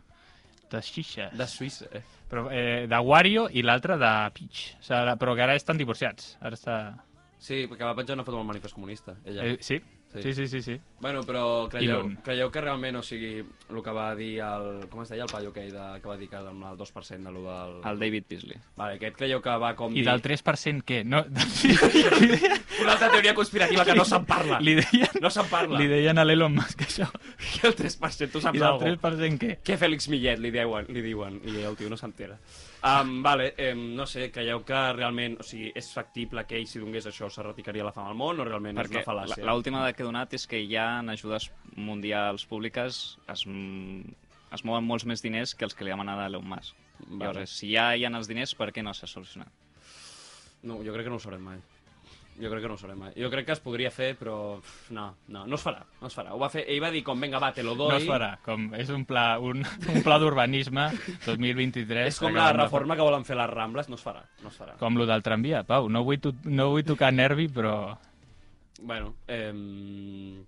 F: De xixes.
D: De Suïssa, eh?
F: Però, eh, de Wario i l'altre de Peach. O sigui, però que ara estan divorciats. Ara està...
D: Sí, perquè va penjar una foto amb el manifest comunista, ella.
F: Eh, sí?
D: Sí.
F: Sí, sí, sí, sí.
D: Bueno, però creieu,
F: Elon.
D: creieu que realment, o sigui, el que va dir el... Com es deia el paio aquell de, que va dir que amb el 2% de lo del...
C: El David Beasley.
D: Vale, aquest creieu que va com dir...
F: I del 3% què? No, li,
D: Una altra teoria conspirativa que no se'n parla.
F: li, deien,
D: No se'n parla.
F: li deien a l'Elon Musk això.
D: I el 3%, tu
F: I
D: saps
F: del
D: alguna cosa?
F: 3% què?
D: Què Fèlix Millet li diuen, li diuen i el tio no s'entera. Um, vale, um, no sé, creieu que realment, o sigui, és factible que ell si donés això s'erradicaria la fama al món o realment és
C: Perquè
D: una fal·làcia?
C: l'última dada que he donat és que hi ha en ajudes mundials públiques es, mm, es mouen molts més diners que els que li ha demanat Elon Musk.
D: Vale.
C: Llavors, si ja hi ha els diners, per què no s'ha solucionat?
D: No, jo crec que no ho sabrem mai. Jo crec que no ho sabrem mai. Jo crec que es podria fer, però... pff, No, no, no es farà, no es farà. Ho va fer, ell va dir com, venga, va, te lo doy.
F: No es farà, com és un pla, un, un pla d'urbanisme 2023.
D: És com la
F: acabant de-
D: reforma que volen fer les Rambles, no es farà, no es farà.
F: Com lo del tramvia, Pau. No vull, to no vull tocar nervi, però...
D: Bueno, eh,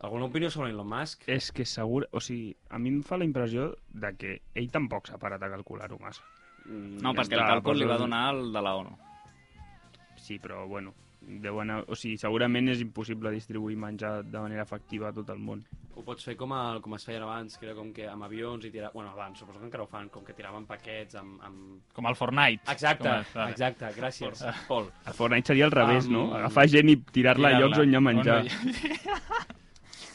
D: alguna opinió sobre Elon Musk?
F: Eh,
E: És que segur... O sigui, a mi em fa la impressió de que ell tampoc s'ha parat a calcular-ho massa.
D: Mm,
C: No, perquè el
E: clar,
C: càlcul li va
E: però-
C: donar el de la ONU.
E: Sí, però, bueno, deu anar... O sigui, segurament és impossible distribuir menjar de manera efectiva a tot el món.
D: Ho pots fer com, el, com es feien abans, que era com que amb avions i tirar... Bueno, abans, suposo que encara ho fan, com que tiraven paquets amb... amb...
F: Com el Fortnite.
D: Exacte,
F: Com el- vale.
D: exacte, gràcies, Pol.
E: El Fortnite seria al revés,
D: Am-
E: no? Agafar gent i tirar-la a
F: Tirar-la.
E: llocs on hi ha menjar.
F: On no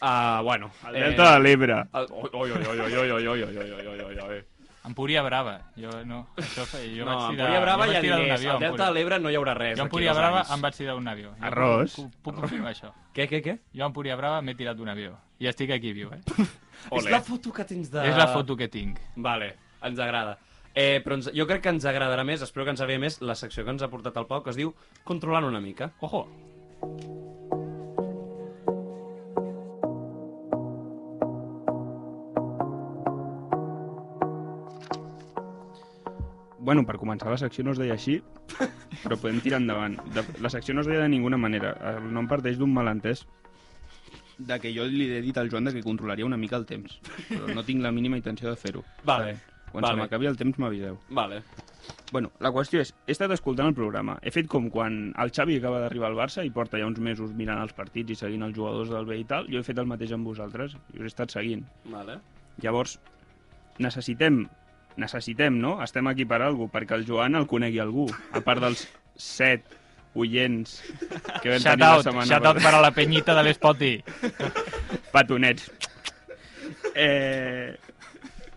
D: Uh, bueno,
E: Al Delta de l'Ebre.
D: el- Oi, oi, oi, oi, oi, oi, oi, oi, oi, oi, oi, oi, oi.
F: Empúria Brava. Jo no. Això fe... jo
D: no,
F: vaig
D: a
F: tirar,
D: Empúria Brava
F: jo
D: hi
F: vaig
D: ha
F: tirar d'un
D: diners.
F: avió a
D: Al Delta de
F: Empúria.
D: l'Ebre no hi haurà res.
F: Jo a
D: d'aquí
F: Empúria
D: dos
F: Brava
D: anys.
F: em vaig tirar d'un avió. Jo
E: Arròs.
F: Puc, puc, puc confirmar això.
D: Què, què, què?
F: Jo a Empúria Brava m'he tirat d'un avió. I estic aquí viu, eh?
D: És la foto que tens de...
F: És la foto que tinc.
D: Vale, ens agrada. Eh, però ens, jo crec que ens agradarà més, espero que ens agradi més, la secció que ens ha portat el Pau, que es diu Controlant una mica.
F: Ojo.
E: Bueno, per començar, la secció no es deia així, però podem tirar endavant. De, la secció no es deia de ninguna manera. El nom parteix d'un malentès de que jo li he dit al Joan de que controlaria una mica el temps, però no tinc la mínima intenció de fer-ho.
D: Vale,
E: Quan
D: Vale.
E: se m'acabi el temps m'aviseu.
D: vale.
E: Bueno, la qüestió és, he estat escoltant el programa. He fet com quan el Xavi acaba d'arribar al Barça i porta ja uns mesos mirant els partits i seguint els jugadors del B i tal. Jo he fet el mateix amb vosaltres i us he estat seguint.
D: Vale.
E: Llavors, necessitem, necessitem, no? Estem aquí per algú, perquè el Joan el conegui algú, a part dels set oients que vam
F: Shout
E: tenir la
F: out,
E: setmana
F: shout out per
E: passada.
F: a la penyita de l'Espoti.
E: Petonets. Eh,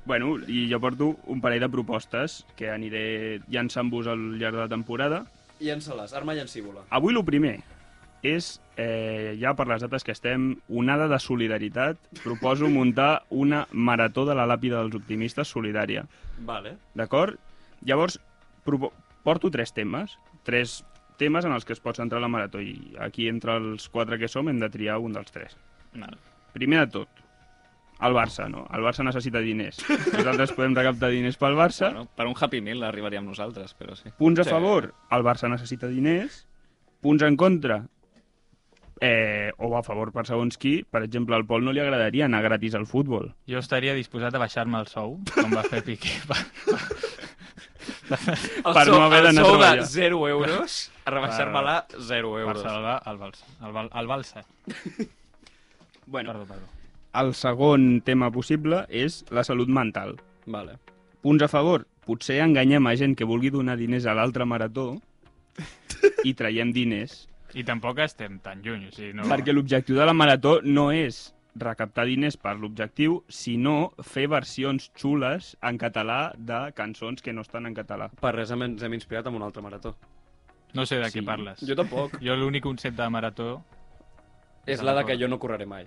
E: bueno, i jo porto un parell de propostes que aniré llançant-vos al llarg de la temporada.
D: Llença-les, arma llancívola.
E: Avui el primer és, eh, ja per les dates que estem, onada de solidaritat. Proposo muntar una marató de la làpida dels optimistes solidària.
D: Vale.
E: D'acord? Llavors, propo- porto tres temes, tres temes en els que es pot centrar la marató i aquí entre els quatre que som hem de triar un dels tres.
C: Vale.
E: Primer de tot, el Barça, no? El Barça necessita diners. Nosaltres podem recaptar diners pel Barça.
C: Bueno, per un Happy Meal arribaríem nosaltres, però sí.
E: Punts a
D: Sí.
E: favor, el Barça necessita diners. Punts en contra, eh, o a favor per segons qui. Per exemple, al Pol no li agradaria anar gratis al futbol.
F: Jo estaria disposat a baixar-me el sou, com va fer Piqué. Per,
D: El
E: Per
D: sou,
E: no haver
D: el
E: d'anar a
D: sou de
E: treballar.
D: 0 euros, a rebaixar-me-la 0
F: per
D: euros.
F: salvar el Balsa. El, bal, el Balsa.
E: Bueno.
F: Perdó, perdó.
E: El segon tema possible és la salut mental.
D: Vale.
E: Punts a favor. Potser enganyem a gent que vulgui donar diners a l'altra marató i traiem diners.
F: I tampoc estem tan lluny, o sigui, no...
E: Perquè l'objectiu de la marató no és recaptar diners per l'objectiu, sinó fer versions xules en català de cançons que no estan en català.
D: Per res ens hem inspirat amb un altre marató.
F: No sé de
E: Sí.
F: què parles.
D: Jo tampoc.
F: Jo l'únic concepte de marató...
D: És la de que jo no correré mai.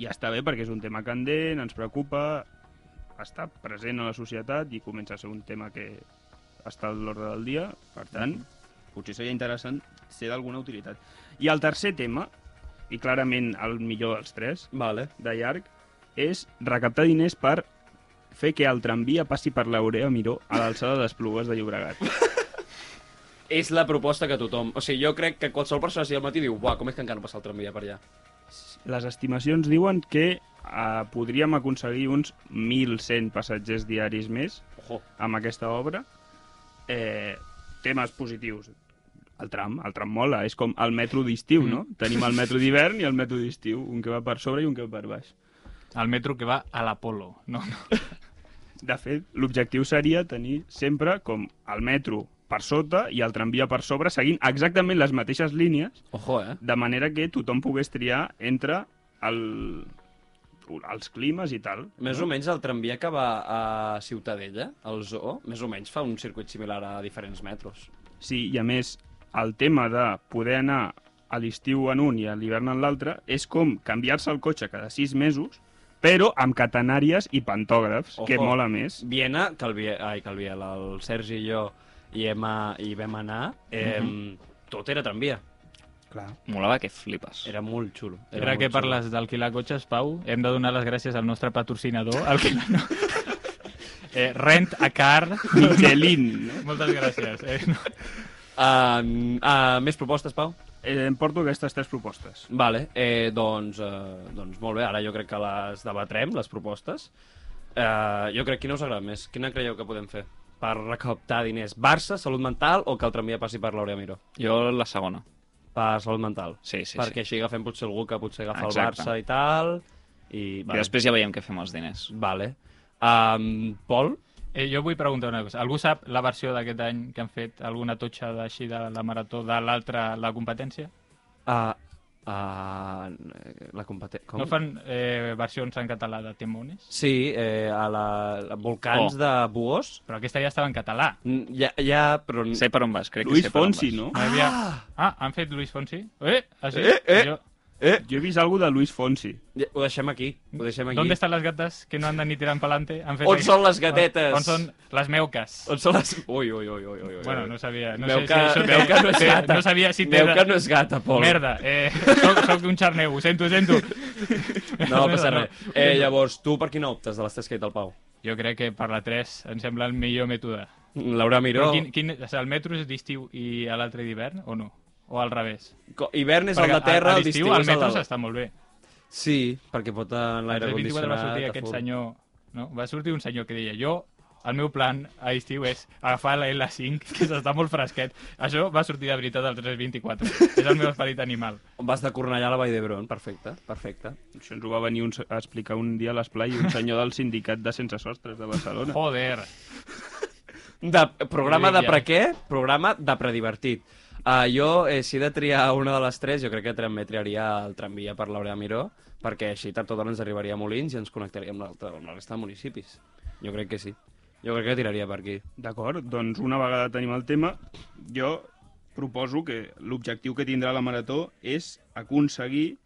E: I està bé perquè és un tema candent, ens preocupa, està present a la societat i comença a ser un tema que està a l'ordre del dia. Per tant, potser seria interessant ser d'alguna utilitat. I el tercer tema, i clarament el millor dels tres,
D: Vale.
E: de llarg és recaptar diners per fer que el tramvia passi per l'Aurea Miró a l'alçada d'Esplugues de Llobregat.
D: És la proposta que tothom... O sigui, jo crec que qualsevol persona si al matí diu buah, com és que encara no passa el tramvia per allà?
E: Les estimacions diuen que eh, podríem aconseguir uns 1.100 passatgers diaris més
D: Ojo.
E: amb aquesta obra. Eh, temes positius. El tram, el tram mola, és com el metro d'estiu, no?
D: Mm.
E: Tenim el metro d'hivern i el metro d'estiu, un que va per sobre i un que va per baix.
F: El metro que va a l'Apolo. No, no.
E: De fet, l'objectiu seria tenir sempre com el metro per sota i el tramvia per sobre, seguint exactament les mateixes línies,
D: Ojo, eh?
E: de manera que tothom pogués triar entre el, els climes i tal.
D: Més o menys el tramvia que va a Ciutadella, al zoo, més o menys fa un circuit similar a diferents metros.
E: Sí, i a més, el tema de poder anar a l'estiu en un i a l'hivern en l'altre és com canviar-se el cotxe cada sis mesos però amb catenàries i pantògrafs,
D: Ojo.
E: que mola més.
D: Viena, Calviel, ai, Calviel, el Sergi i jo hi, hem, a- hi vam anar, eh, tot era tramvia.
E: Clar.
C: Molava que flipes.
D: Era molt xulo.
F: Era
D: molt
F: que
D: xulo.
F: parles d'alquilar cotxes, Pau. Hem de donar les gràcies al nostre patrocinador, al que... No. Eh, rent a car.
E: Michelin. no?
F: Moltes gràcies. Eh? No.
D: Ah, ah, més propostes, Pau?
E: Eh, em porto aquestes tres propostes.
D: Vale, eh, doncs, eh, doncs molt bé, ara jo crec que les debatrem, les propostes. Eh, jo crec que no us agrada més. Quina creieu que podem fer per recaptar diners? Barça, salut mental o que el tramvia passi per l'Aurea Miró?
C: Jo la segona.
D: Per salut mental.
C: Sí, sí,
D: Perquè així agafem potser algú que potser agafa
C: Exacte.
D: el Barça i tal. I,
C: Vale. I després ja veiem què fem els diners.
D: Vale. Um, Pol?
F: Eh, jo vull preguntar una cosa. Algú sap la versió d'aquest any que han fet? Alguna totxa d'així de la marató de l'altra, la competència?
D: Uh, uh, la competència... Com?
F: No fan eh, versions en català de Temones?
D: Sí, eh, a la, la Volcans
C: Oh.
D: oh. de Buós.
F: Però aquesta ja estava en català.
D: Mm, Ja, ja, però...
C: Sé per on vas, crec
E: Luis
C: que sé per on
E: Fonsi,
C: vas.
E: no?
F: Ah! Havia... ah, han fet Luis Fonsi? Eh, ah, sí? eh, eh. Jo...
E: Jo he vist alguna de Luis Fonsi.
D: Ja, ho deixem aquí. Ho deixem aquí.
F: ¿Dónde están las gatas que no andan ni tiran pa'lante? Han fet
D: On
F: aquí-
D: són les gatetes?
F: On són les meuques?
D: On són les... Ui, ui, ui, ui, ui. ui.
F: Bueno, no sabia. No
D: Veu que,
F: sé si això té-
D: veu que no és
F: té-
D: gata.
F: No sabia si té...
D: Veu que no és gata, Pol.
F: Merda, eh, soc, soc un xarneu, ho sento, ho sento.
D: No, passa
F: Merda, no.
D: res. Eh, llavors, tu per quina optes de les tres que ha dit el Pau?
F: Jo crec que per la 3 em sembla el millor mètode.
D: Laura
F: Però
D: Miró.
F: quin, quin, o sigui, el metro és d'estiu i a l'altre d'hivern, o no? O al revés?
D: Co- Hivern és el de terra, el d'estiu és
F: al
D: el
F: metro
D: de...
F: s'està molt bé.
D: Sí, perquè pot en
F: El
D: l'aire
F: 24 va
D: condicionat...
F: sortir
D: a
F: aquest
D: full.
F: senyor... No? Va sortir un senyor que deia jo el meu plan a estiu és agafar la L5, que s'està molt fresquet. Això va sortir de veritat al 324. És el meu esperit animal.
D: Vas de Cornellà a la Vall d'Hebron, perfecte, perfecte.
E: Això ens ho va venir un, se- a explicar un dia a l'esplai un senyor del sindicat de sense sostres de Barcelona.
F: Joder.
D: De, programa de
F: Ja.
D: pre què? Programa de predivertit. Uh, jo, eh, si he de triar una de les tres, jo crec que també triaria el tramvia per l'Aurea Miró, perquè així tard o d'hora ens arribaria a Molins i ens connectaria amb, l'altra- amb la resta de municipis. Jo crec que sí. Jo crec que tiraria per aquí.
E: D'acord, doncs una vegada tenim el tema, jo proposo que l'objectiu que tindrà la marató és aconseguir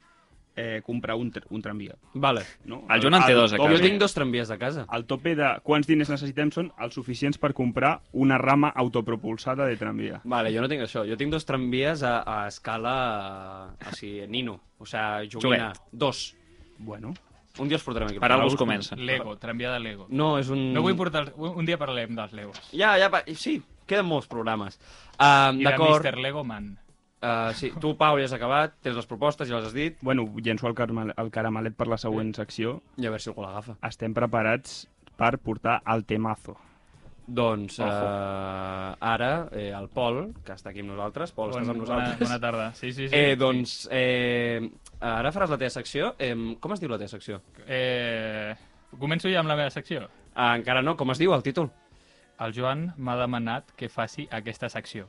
E: eh, comprar un, tr un tramvia.
D: Vale.
E: No?
C: El Joan en té dos a
E: tope-
D: Jo
C: casa.
D: tinc dos tramvies de casa.
E: El tope de quants diners necessitem són els suficients per comprar una rama autopropulsada de tramvia.
D: Vale, jo no tinc això. Jo tinc dos tramvies a, a escala... A, a, si, nino. O sigui, joguina.
C: Joguet.
D: Dos.
E: Bueno,
D: Un dia els portarem aquí.
C: Per algú es comença.
F: Lego, tramvia de Lego.
D: No, és un...
F: No vull portar... els- Un dia parlem dels Legos.
D: Ja, ja, pa- sí, queden molts programes. Um,
F: I de
D: D'acord.
F: Mr. Lego Man.
D: Uh, sí, tu, Pau, ja has acabat, tens les propostes, ja les has dit,
E: bueno llenço el, carmel, el caramelet per la següent secció.
D: i a veure si algú l'agafa.
E: Estem preparats per portar el temazo.
D: Doncs uh, ara, eh, el Pol, que està aquí amb nosaltres, Pol,
F: Bon,
D: estàs amb
F: bona,
D: nosaltres.
F: bona tarda. Sí, sí, sí.
D: Eh, doncs, eh, ara faràs la teva secció. Eh, com es diu la teva secció?
F: Eh, començo ja amb la meva secció.
D: Ah, encara no, com es diu el títol?
F: El Joan m'ha demanat que faci aquesta secció.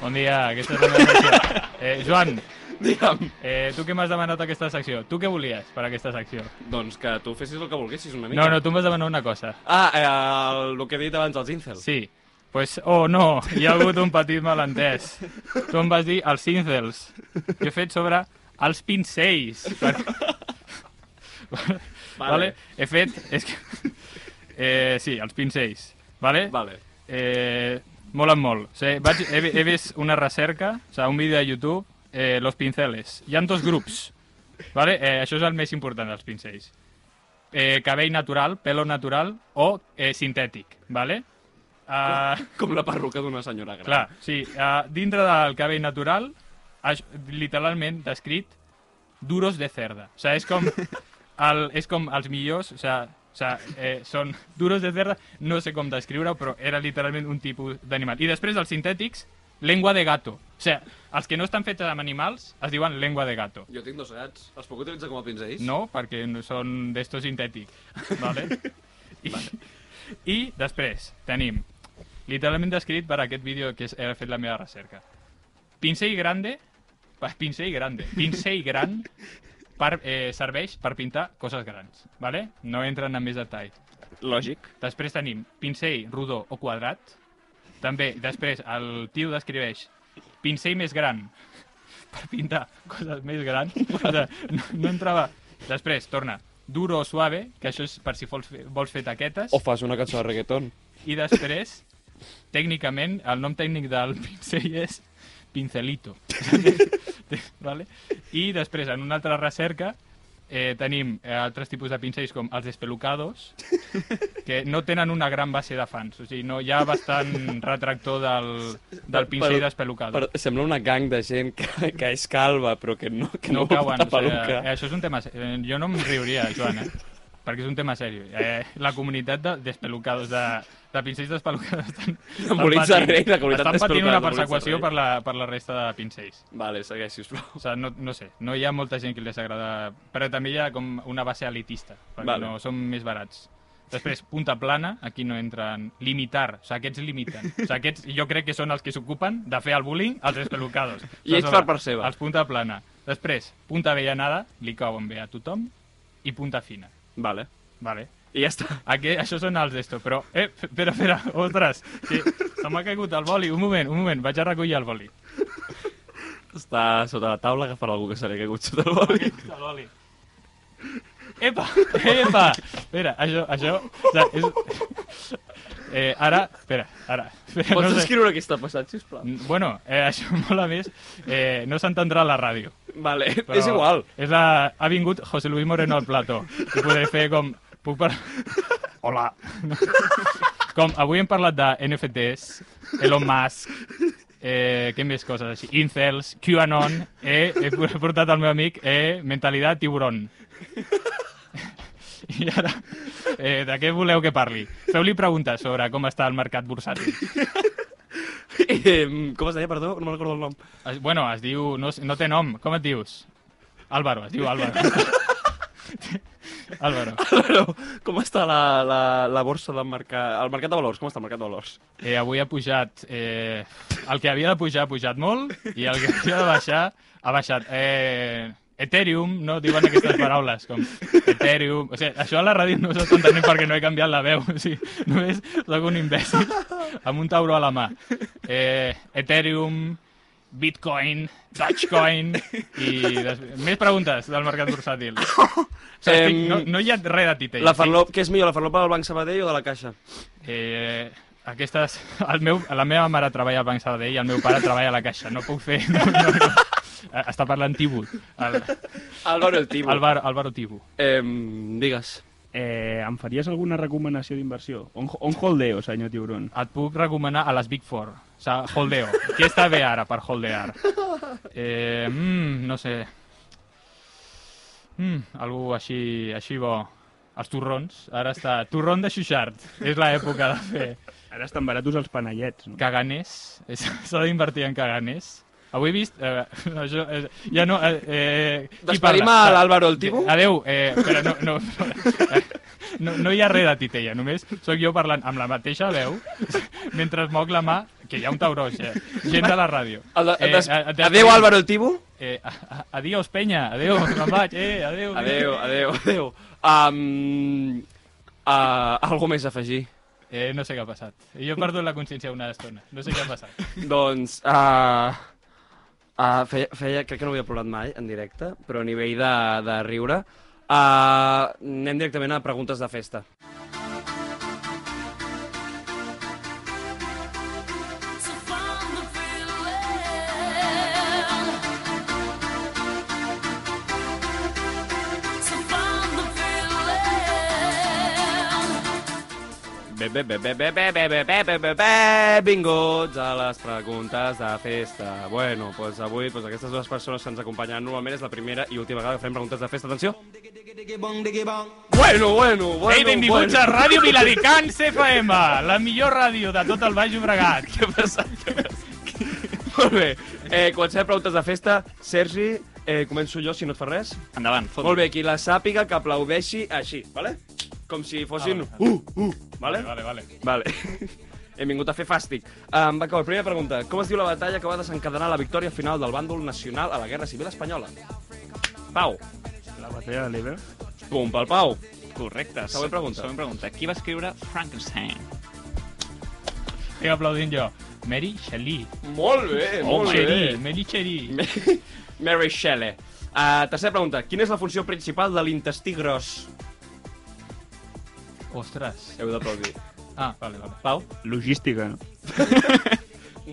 F: Bon dia, aquesta és la meva secció. Eh, Joan,
D: Digue'm.
F: eh, tu què m'has demanat aquesta secció? Tu què volies per aquesta secció?
D: Doncs que tu fessis el que volguessis una mica.
F: No, no, tu em vas demanar una cosa.
D: Ah, eh, el, el que he dit abans dels incels.
F: Sí, pues, oh no, hi ha hagut un petit malentès. Tu em vas dir els incels. Jo he fet sobre els pincells. Per... Vale. vale. He fet... És que... Eh, sí, els pincells. Vale?
D: Vale.
F: Eh, molen molt. O sigui, vaig, he, he vist una recerca, o sigui, un vídeo de YouTube, eh, los pinceles. Hi ha dos grups. Vale? Eh, això és el més important dels pincells. Eh, cabell natural, pelo natural o eh, sintètic. Vale? Uh,
D: Com la perruca d'una senyora gran.
F: clar, sí, uh, dintre del cabell natural, aix- literalment descrit, duros de cerda. O sigui, és com, el, és com els millors, o sigui, o sigui, eh, són duros de cerda, no sé com descriure però era literalment un tipus d'animal. I després dels sintètics, lengua de gato. O sigui, els que no estan fets amb animals es diuen lengua de gato.
D: Jo tinc dos gats. Els puc utilitzar com a pinzells?
F: No, perquè no són d'esto sintètic. Vale? I, I després tenim, literalment descrit per aquest vídeo que he fet la meva recerca. Pincell grande, pa- pincell grande, pincell gran per, eh, serveix per pintar coses grans. Vale? No entren en més detall.
C: Lògic.
F: Després tenim pincell rodó o quadrat, També, després, el tio descriveix pincell més gran per pintar coses més grans. O sea, no, no entrava... Després, torna, duro o suave, que això és per si vols fer, vols fer taquetes.
D: O fas una cançó de reggaeton.
F: I després, tècnicament, el nom tècnic del pincell és pincelito. vale? I després, en una altra recerca, eh, tenim eh, altres tipus de pincells com els espelucados, que no tenen una gran base de fans. O sigui, no, hi ha bastant retractor del, del pincell d'espelucado.
D: Però sembla una gang de gent que, que és calva, però que no, que no,
F: no cauen.
D: porta
F: O sigui,
D: peluca.
F: eh, això és un tema... se- eh, Jo no em riuria, Joan, eh? perquè és un tema seriós. Eh, la comunitat de, d'espelucados, de, de pincells d'espelucados... Estan, estan
D: Molins de
F: patint-
D: Rei, la comunitat
F: Estan patint
D: d'espelucados
F: una
D: de Molins de
F: persecució
D: Rei.
F: per la, per la resta de pincells.
D: Vale, segueix, sisplau.
F: O sigui, no, no sé, no hi ha molta gent que les agrada... Però també hi ha com una base elitista,
D: Vale.
F: perquè vale. no, són més barats. Després, punta plana, aquí no entren... Limitar, o sigui, aquests limiten. O sigui, aquests jo crec que són els que s'ocupen de fer el bullying als espelucados.
D: I ells
F: Aleshores,
D: per part seva.
F: Els punta plana. Després, punta avellanada, li cauen bé a tothom, i punta fina.
D: Vale.
F: Vale.
D: I ja està.
F: Aquí, això són els d'esto, però... Eh, f- espera, espera, ostres, que se m'ha caigut el boli. Un moment, un moment, vaig a recollir el boli.
D: Està sota la taula, agafarà algú que se li ha caigut sota el boli.
F: De l'oli. Epa! Epa! Espera, això... això o sea, és... Eh, ara... Espera, ara. Espera,
D: Pots
F: no sé.
D: escriure què està passant, sisplau?
F: N- Bueno, eh, això mola més. Eh, no s'entendrà a la ràdio.
D: Vale,
F: però
D: és igual.
F: És la... Ha vingut José Luis Moreno al plató. I podré fer com... Puc parlar... Hola. No. Com, avui hem parlat de NFTs, Elon Musk, eh, què més coses així, Incels, QAnon, eh, he por- portat al meu amic, eh, mentalitat tiburón. I ara, eh, de què voleu que parli? Feu-li preguntes sobre com està el mercat bursàtil.
D: Eh, com es deia, perdó? No me'n recordo el nom.
F: Es, bueno, es diu... No, sé- no té nom. Com et dius? Álvaro, es diu Álvaro. Álvaro.
D: Però, com està la, la, la borsa del mercat... El mercat de valors, com està el mercat de valors?
F: Eh, avui ha pujat... Eh, el que havia de pujar ha pujat molt i el que havia de baixar ha baixat. Eh, Ethereum, no? Diuen aquestes paraules, com Ethereum... O sigui, això a la ràdio no s'està entenent perquè no he canviat la veu, o sigui, només soc un imbècil amb un tauro a la mà. Eh, Ethereum, Bitcoin, Dogecoin i... Des... Més preguntes del mercat bursàtil. O sigui, estic...
D: Em,
F: no, no hi ha res de titell.
D: La farlop, què és millor, la farlopa del Banc Sabadell o de la Caixa?
F: Eh, aquestes... El meu, la meva mare treballa al Banc Sabadell i el meu pare treballa a la Caixa. No puc fer... No, no, no. Eh, Està parlant Tibu. El,
D: Álvaro el Tibo.
F: Álvaro, Álvaro Tibu.
D: Eh, digues.
E: Eh, em faries alguna recomanació d'inversió? On, on holdeo, senyor Tiburón?
F: Et puc recomanar a les Big Four. O sigui, holdeo. Què està bé ara per holdear? Eh, mm, no sé. Mm, algú així, així bo. Els turrons. Ara està... Turron de Xuxart. És l'època de fer...
E: Ara estan baratos els panellets, no?
F: Caganers. És- S'ha d'invertir en caganers. Avui he vist... Eh, no, això, eh, ja no... Eh, eh, qui
D: Despedim
F: parla?
D: a l'Álvaro el Tibo?
F: Adeu. Eh, però no, no, eh, no, no hi ha res de titella, només sóc jo parlant amb la mateixa veu mentre es moc la mà, que hi ha un tauró, eh? gent de la ràdio. Eh,
D: El de, el des...
F: a- a-
D: Adeu, Álvaro el Tibo?
F: Eh, a- a- adiós, penya, adeu, me'n vaig, eh, adeu.
D: Adeu, adeu, adeu. Um, uh, algo més a afegir?
F: Eh, no sé què ha passat. Jo he perdut la consciència una estona, no sé què ha passat.
D: doncs, uh, uh, feia, feia, crec que no ho havia parlat mai en directe, però a nivell de, de riure, uh, anem directament a preguntes de festa.
A: So from the villain. So from the villain.
D: Bé, bé, bé, bé, bé, bé, bé, bé, bé, bé, bé, bé, Benvinguts a les preguntes de festa. Bueno, doncs avui doncs aquestes dues persones que ens acompanyen normalment és la primera i última vegada que fem preguntes de festa. Atenció! Bueno, bueno, bueno,
F: Ei, benvinguts
D: bueno.
F: a Ràdio Viladecans FM, la millor ràdio de tot el Baix Llobregat.
D: Què ha passat? Què ha passat? Molt bé. Eh, comencem preguntes de festa. Sergi, eh, començo jo, si no et fa res.
C: Endavant, fot.
D: Molt bé, qui la sàpiga que aplaudeixi així, vale? Com si fossin... Uh, uh, vale?
F: Ah, Vale, vale.
D: Vale. Hem vingut a fer fàstic. Um, va, com a primera pregunta. Com es diu la batalla que va desencadenar la victòria final del bàndol nacional a la Guerra Civil Espanyola? Pau.
E: La batalla de l'Ever?
D: Pum pel Pau.
C: Correcte.
D: Següent pregunta.
C: Següent pregunta. Qui va escriure Frankenstein?
F: Estic aplaudint jo. Mary Shelley.
D: Molt bé,
F: Oh,
D: molt
F: Shelley,
D: bé.
F: Mary Shelley.
D: Mary Shelley. Uh, tercera pregunta. Quina és la funció principal de l'intestí gros?
F: Ostres.
D: Heu d'aplaudir.
F: Ah, vale, vale.
D: Pau?
E: Logística, no?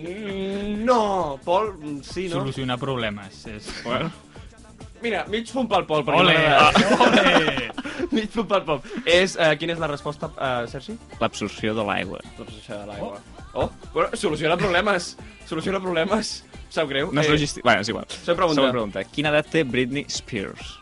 D: Mm, no, Pol, mm, sí, no?
F: Solucionar problemes. És...
C: Bueno,
D: Mira, mig punt pel Pol. perquè
F: Ole,
D: m'agrada.
F: ole.
D: mig punt pel Pol. És, uh, quina és la resposta, uh, Sergi?
C: l'absorció de l'aigua.
D: Doncs això de l'aigua. Oh, oh bueno, soluciona problemes. Soluciona problemes. Em Sap greu. Eh,
C: No és logística... Bueno, és igual.
D: Següent pregunta.
C: Eh, Següent pregunta. Quina edat té Britney Spears?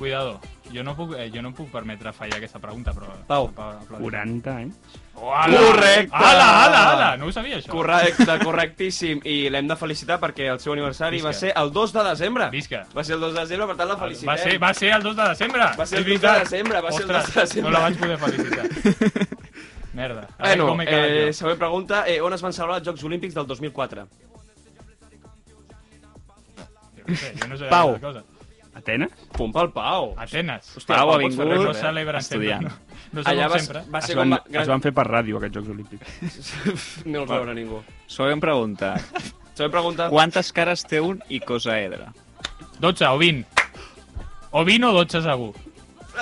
F: Cuidado. Jo no, puc, eh, jo no em puc permetre fallar aquesta pregunta, però...
D: Pau.
F: Correcte.
E: 40 anys.
D: Correcte.
F: Ala, ala, ala. No ho sabia, això.
D: Correcte, correctíssim. I l'hem de felicitar perquè el seu aniversari
F: Visca.
D: va ser el 2 de desembre.
F: Visca.
D: Va ser el 2 de desembre, per tant la felicitem.
F: Va ser, va ser el 2 de desembre.
D: Va ser el 2 de
F: És veritat.
D: desembre, va ser el
F: Ostres,
D: 2 de desembre.
F: No la vaig poder felicitar. Merda. A veure
D: Bueno,
F: com he quedat
D: eh,
F: jo.
D: següent pregunta. Eh, on es van celebrar els Jocs Olímpics del 2004?
F: Jo no sé, jo no sé
D: Pau.
F: altra cosa.
E: Atenes?
D: Punt pel Pau.
F: Atenes.
D: Hòstia,
C: Pau ha
D: pots fer
C: vingut.
F: No
D: res, eh?
F: celebren sempre.
C: estudiant.
F: No, no
D: Allà
F: Allà
D: va,
F: sempre.
D: va
E: Es
D: ser
E: van,
D: com... Va, gran...
E: es van fer per ràdio, aquests Jocs Olímpics.
D: No els va veure ningú.
C: Següent pregunta.
D: Següent pregunta.
C: Quantes cares té un icosaedre?
F: 12 o 20. O 20 o 12 segur.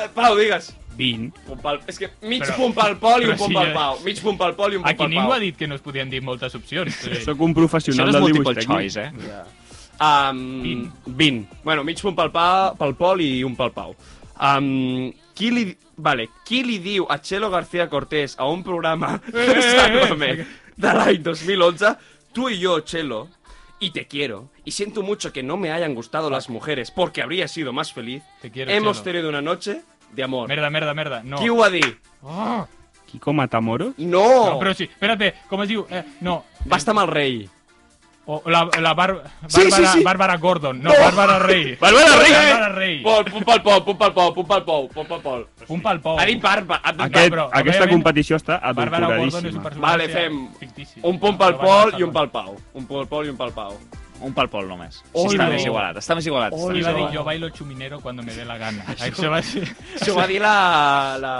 D: Eh, Pau, digues.
E: 20.
D: Punt pel... És que mig
F: Però-
D: punt pel Pol i
F: però
D: un punt
F: si
D: pel
F: ja-
D: Pau. Mig punt pel Pol i un punt
F: Aquí
D: pel
F: ningú
D: Pau.
F: ha dit que no es podien dir moltes opcions. Sí.
E: Sóc un
C: Això
E: professional
C: no és
E: del dibuix
C: multiple
E: tècnic.
C: choice, eh?
D: Um,
F: 20.
D: 20. Bueno, mig punt pel, pa, pel Pol i un pel Pau. Um, qui li... Vale, qui li diu a Chelo García Cortés a un programa
F: eh,
D: Sálvame,
F: eh.
D: de l'any 2011 Tu y yo, Chelo, y te quiero, y siento mucho que no me hayan gustado las mujeres porque habría sido más feliz,
F: Te quiero,
D: hemos
F: Chelo.
D: tenido una noche de amor.
F: Merda, merda, merda. No.
D: Qui ho Oh. va dir?
F: Oh,
E: Kiko Matamoros?
D: No!
F: no, però sí. Espérate, com es diu? Eh, no.
D: Va estar amb el rei.
F: O la, la Bar Bàrbara,
D: Sí, sí, sí.
F: Bàrbara Gordon. No,
D: No.
F: Bàrbara Rey.
D: Bàrbara Rey! eh.
F: Bàrbara Rey.
D: Pol, punt pel Pol, punt pel Pol, punt pel Pol, punt pel Pol.
F: Un pel pou.
D: Ha dit Barba. ha dit
E: Aquest,
F: però,
E: Eh, aquesta
F: òbviament,
E: competició està
F: Bàrbara Gordon és un
E: adulteradíssima.
F: personatge
D: Vale, fem
F: fictici.
D: un punt pel Pol i un pel Pau. Un punt pel Pol i un pel Pau.
C: Un pel pol només. Sí,
D: Oi,
C: està
D: no.
C: més igualat, està més igualat. Està
F: Li
C: més
F: va dir,
C: igualat.
F: jo bailo chuminero quan me dé la gana. Això va ser...
D: Això ho va dir la... La,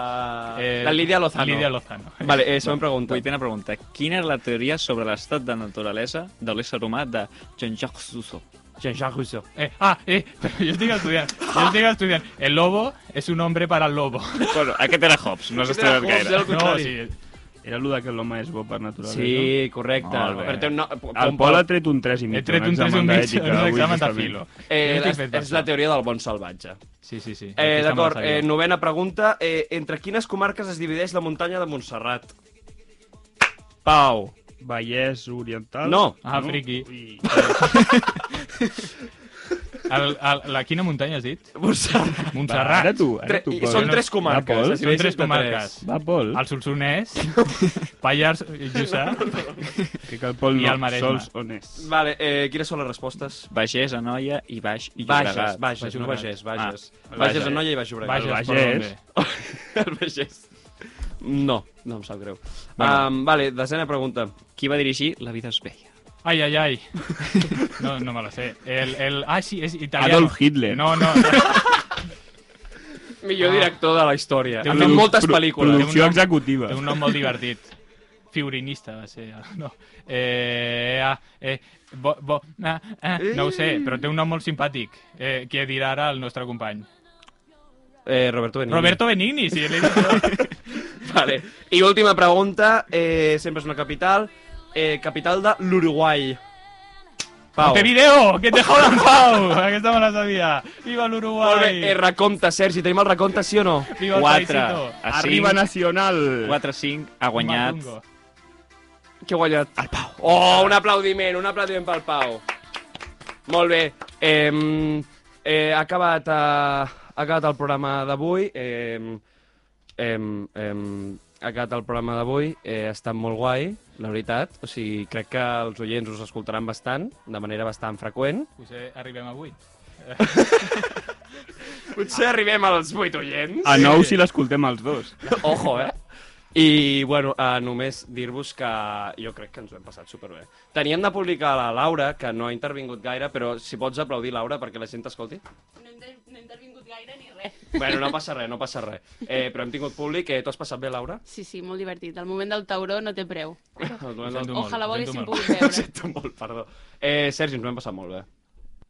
F: Eh,
D: la Lídia Lozano.
F: Lídia Lozano.
D: Vale, eh, següent pregunta.
C: Vuitena pregunta. Quina és la teoria sobre l'estat de naturalesa de l'ésser humà de Jean-Jacques Rousseau?
D: Jean-Jacques Rousseau.
F: Eh, ah, eh, però jo estic estudiant. Jo estic estudiant. El lobo és un hombre para el lobo.
C: Bueno, aquest era Hobbes, no has
D: Aquest era
C: estudiat
D: Hobbes,
C: gaire.
D: el contrari.
E: Era el de que l'home és bo per naturalesa.
D: Sí, correcte.
C: Molt bé.
D: Però té un no...
E: El Pol ha tret un 3 i mig.
F: He tret un 3 i un mig en un examen de filo. Jo
D: Eh,
F: estic
D: és,
F: fet per
D: és la
F: això.
D: teoria del bon salvatge.
F: Sí, sí, sí.
D: Eh,
F: Aquesta
D: D'acord,
F: me la sabia.
D: eh, novena pregunta. Eh, entre quines comarques es divideix la muntanya de Montserrat? Pau.
E: Vallès Oriental.
D: No.
F: Ah, friqui.
E: Ui,
F: El, el, la quina muntanya has dit?
D: Montserrat.
F: Montserrat.
E: Ara tu, ara
D: Tre-
E: tu,
D: i
E: Pol.
D: són tres
E: Va,
D: comarques.
E: Pol.
D: es
F: Són
D: divideix
F: tres
D: entre
F: comarques.
E: Va, Pol.
F: El Solsonès, Pallars Jussà...
E: Que el Pol
F: i
E: no,
F: el Maresme.
E: sols on és.
D: Vale, eh, quines són les respostes?
C: Vagès, Anoia i Baix i
D: Bages,
C: Llobregat.
D: Bages, no
F: Llobregat.
D: Bages, Bages.
C: Ah,
D: Bages
C: Bages.
D: a Noia i Baix Llobregat.
F: Vages,
E: Vagès.
F: per on ve.
D: El Bages. No, no em sap greu.
C: Bueno.
D: Um, vale, desena pregunta.
C: Qui va dirigir La vida és bella?
F: Ai, ai, ai. No, no me la sé. El, el... Ah, sí, és italià.
E: Adolf Hitler.
F: No, no.
D: Millor director de la història.
F: Té
D: Ha
F: un
D: fet
F: nom-
D: moltes
E: Pro-
D: pel·lícules.
E: Producció
F: Té un nom-
E: executiva.
F: Té un nom molt divertit. Figurinista va ser. ah, No. Eh, ah, eh, bo, bo, ah, ah, no ho sé, però té un nom molt simpàtic. Eh, que dirà ara el nostre company.
D: Eh, Roberto Benigni.
F: Roberto Benigni, sí. l'he dit jo.
D: Vale. I última pregunta, eh, sempre és una capital. Eh, capital de l'Uruguai. Pau.
F: Montevideo, que te jodan, Pau. Aquesta me la sabia. Viva l'Uruguai.
D: Molt bé, eh, recompte, Sergi, tenim el recompte, sí o no?
F: Viva el
C: 4
F: paisito.
C: a 5.
E: Arriba Nacional.
C: 4 a 5 ha guanyat
F: Matungo.
D: Què ha guanyat? El Pau. Oh, un aplaudiment, un aplaudiment pel Pau. Molt bé. Eh, eh, ha, acabat, eh, ha acabat el programa d'avui. Eh, eh, eh, ha acabat el programa d'avui. Eh, ha estat molt guai, la veritat. O sigui, crec que els oients us escoltaran bastant, de manera bastant freqüent.
F: Potser arribem a 8.
D: Potser arribem als 8 oients.
E: A 9 si l'escoltem els dos.
D: Ojo, eh? I, bueno, eh, només dir-vos que jo crec que ens ho hem passat superbé. Teníem de publicar la Laura, que no ha intervingut gaire, però si pots aplaudir, Laura, perquè la gent t'escolti.
A: No hem de- no hem
G: intervingut gaire ni res.
D: Bueno, no passa res, no passa res. Eh, però hem tingut públic. Eh, T'ho has passat bé, Laura?
G: Sí, sí, molt divertit. El moment del tauró no té preu.
D: El moment
F: sento
D: del-
F: molt,
G: Ojalà
F: ho sento
G: volguéssim
F: molt.
G: pogut
D: Ho
G: veure.
D: sento molt, perdó. Eh, Sergi, ens ho hem passat molt bé.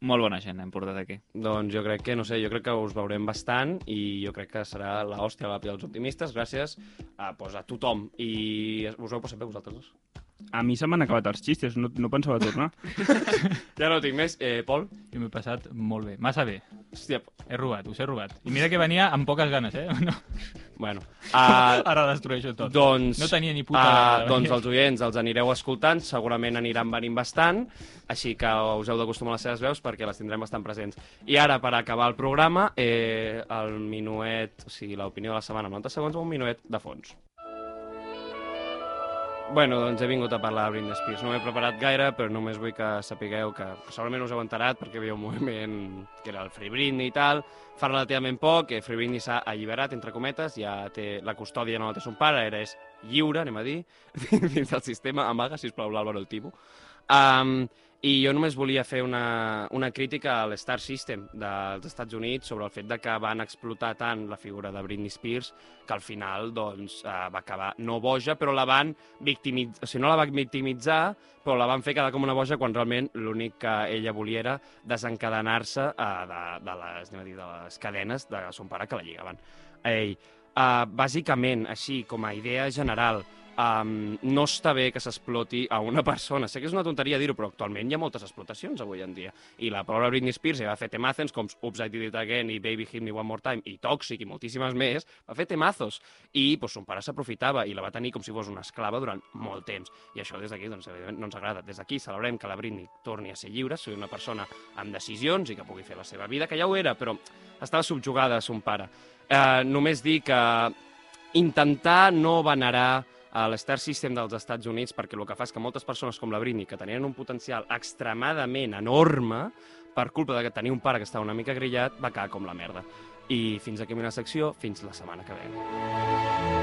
C: Molt bona gent hem portat aquí.
D: Doncs jo crec que, no sé, jo crec que us veurem bastant i jo crec que serà la hòstia la pila dels optimistes gràcies a, pues, a tothom. I us ho heu passat bé vosaltres dos?
E: A mi se m'han acabat els xistes, no, no pensava tornar.
D: Ja no tinc més. Eh, Pol?
F: Jo m'ho he passat molt bé. Massa bé.
D: Hòstia,
F: He robat, us he robat. I mira que venia amb poques ganes, eh? No.
D: bueno. Uh,
F: Ara destrueixo tot.
D: Doncs,
F: No tenia ni puta eh?
D: ah,
F: idea.
D: doncs els oients els anireu escoltant, segurament aniran venint bastant, així que us heu d'acostumar a les seves veus perquè les tindrem bastant presents. I ara, per acabar el programa, eh, el minuet, o sigui, l'opinió de la setmana, 90 segons, un minuet de fons. Bueno, doncs he vingut a parlar de Britney Spears. No m'he preparat gaire, però només vull que sapigueu que segurament us heu enterat perquè hi havia un moviment que era el Free Britney i tal, fa relativament poc, que Free Britney s'ha alliberat, entre cometes, ja té la custòdia no la té son pare, ara és lliure, anem a dir, dins del sistema. Amaga, sisplau, l'Àlvaro, el Timo. Um, I jo només volia fer una, una crítica a l'Star System dels Estats Units sobre el fet de que van explotar tant la figura de Britney Spears que al final doncs, eh, va acabar no boja, però la van victimitzar, o sigui, no la van victimitzar, però la van fer quedar com una boja quan realment l'únic que ella volia era desencadenar-se eh, de, de, les, anem a dir, de les cadenes de son pare que la lligaven. Ell, eh, bàsicament, així, com a idea general, um, no està bé que s'exploti a una persona. Sé que és una tonteria dir-ho, però actualment hi ha moltes explotacions avui en dia. I la pobra Britney Spears ja va fer temazos com Oops, I Did It Again i Baby Hit Me One More Time i Toxic i moltíssimes més. Va fer temazos. I pues, son pare s'aprofitava i la va tenir com si fos una esclava durant molt temps. I això des d'aquí, doncs, evidentment, no ens agrada. Des d'aquí celebrem que la Britney torni a ser lliure, sigui una persona amb decisions i que pugui fer la seva vida, que ja ho era, però estava subjugada a son pare. Eh, només dir que intentar no venerar a l'Star System dels Estats Units perquè el que fa és que moltes persones com la Britney, que tenien un potencial extremadament enorme, per culpa de que tenia un pare que estava una mica grillat, va quedar com la merda. I fins aquí amb una secció, fins la setmana que ve.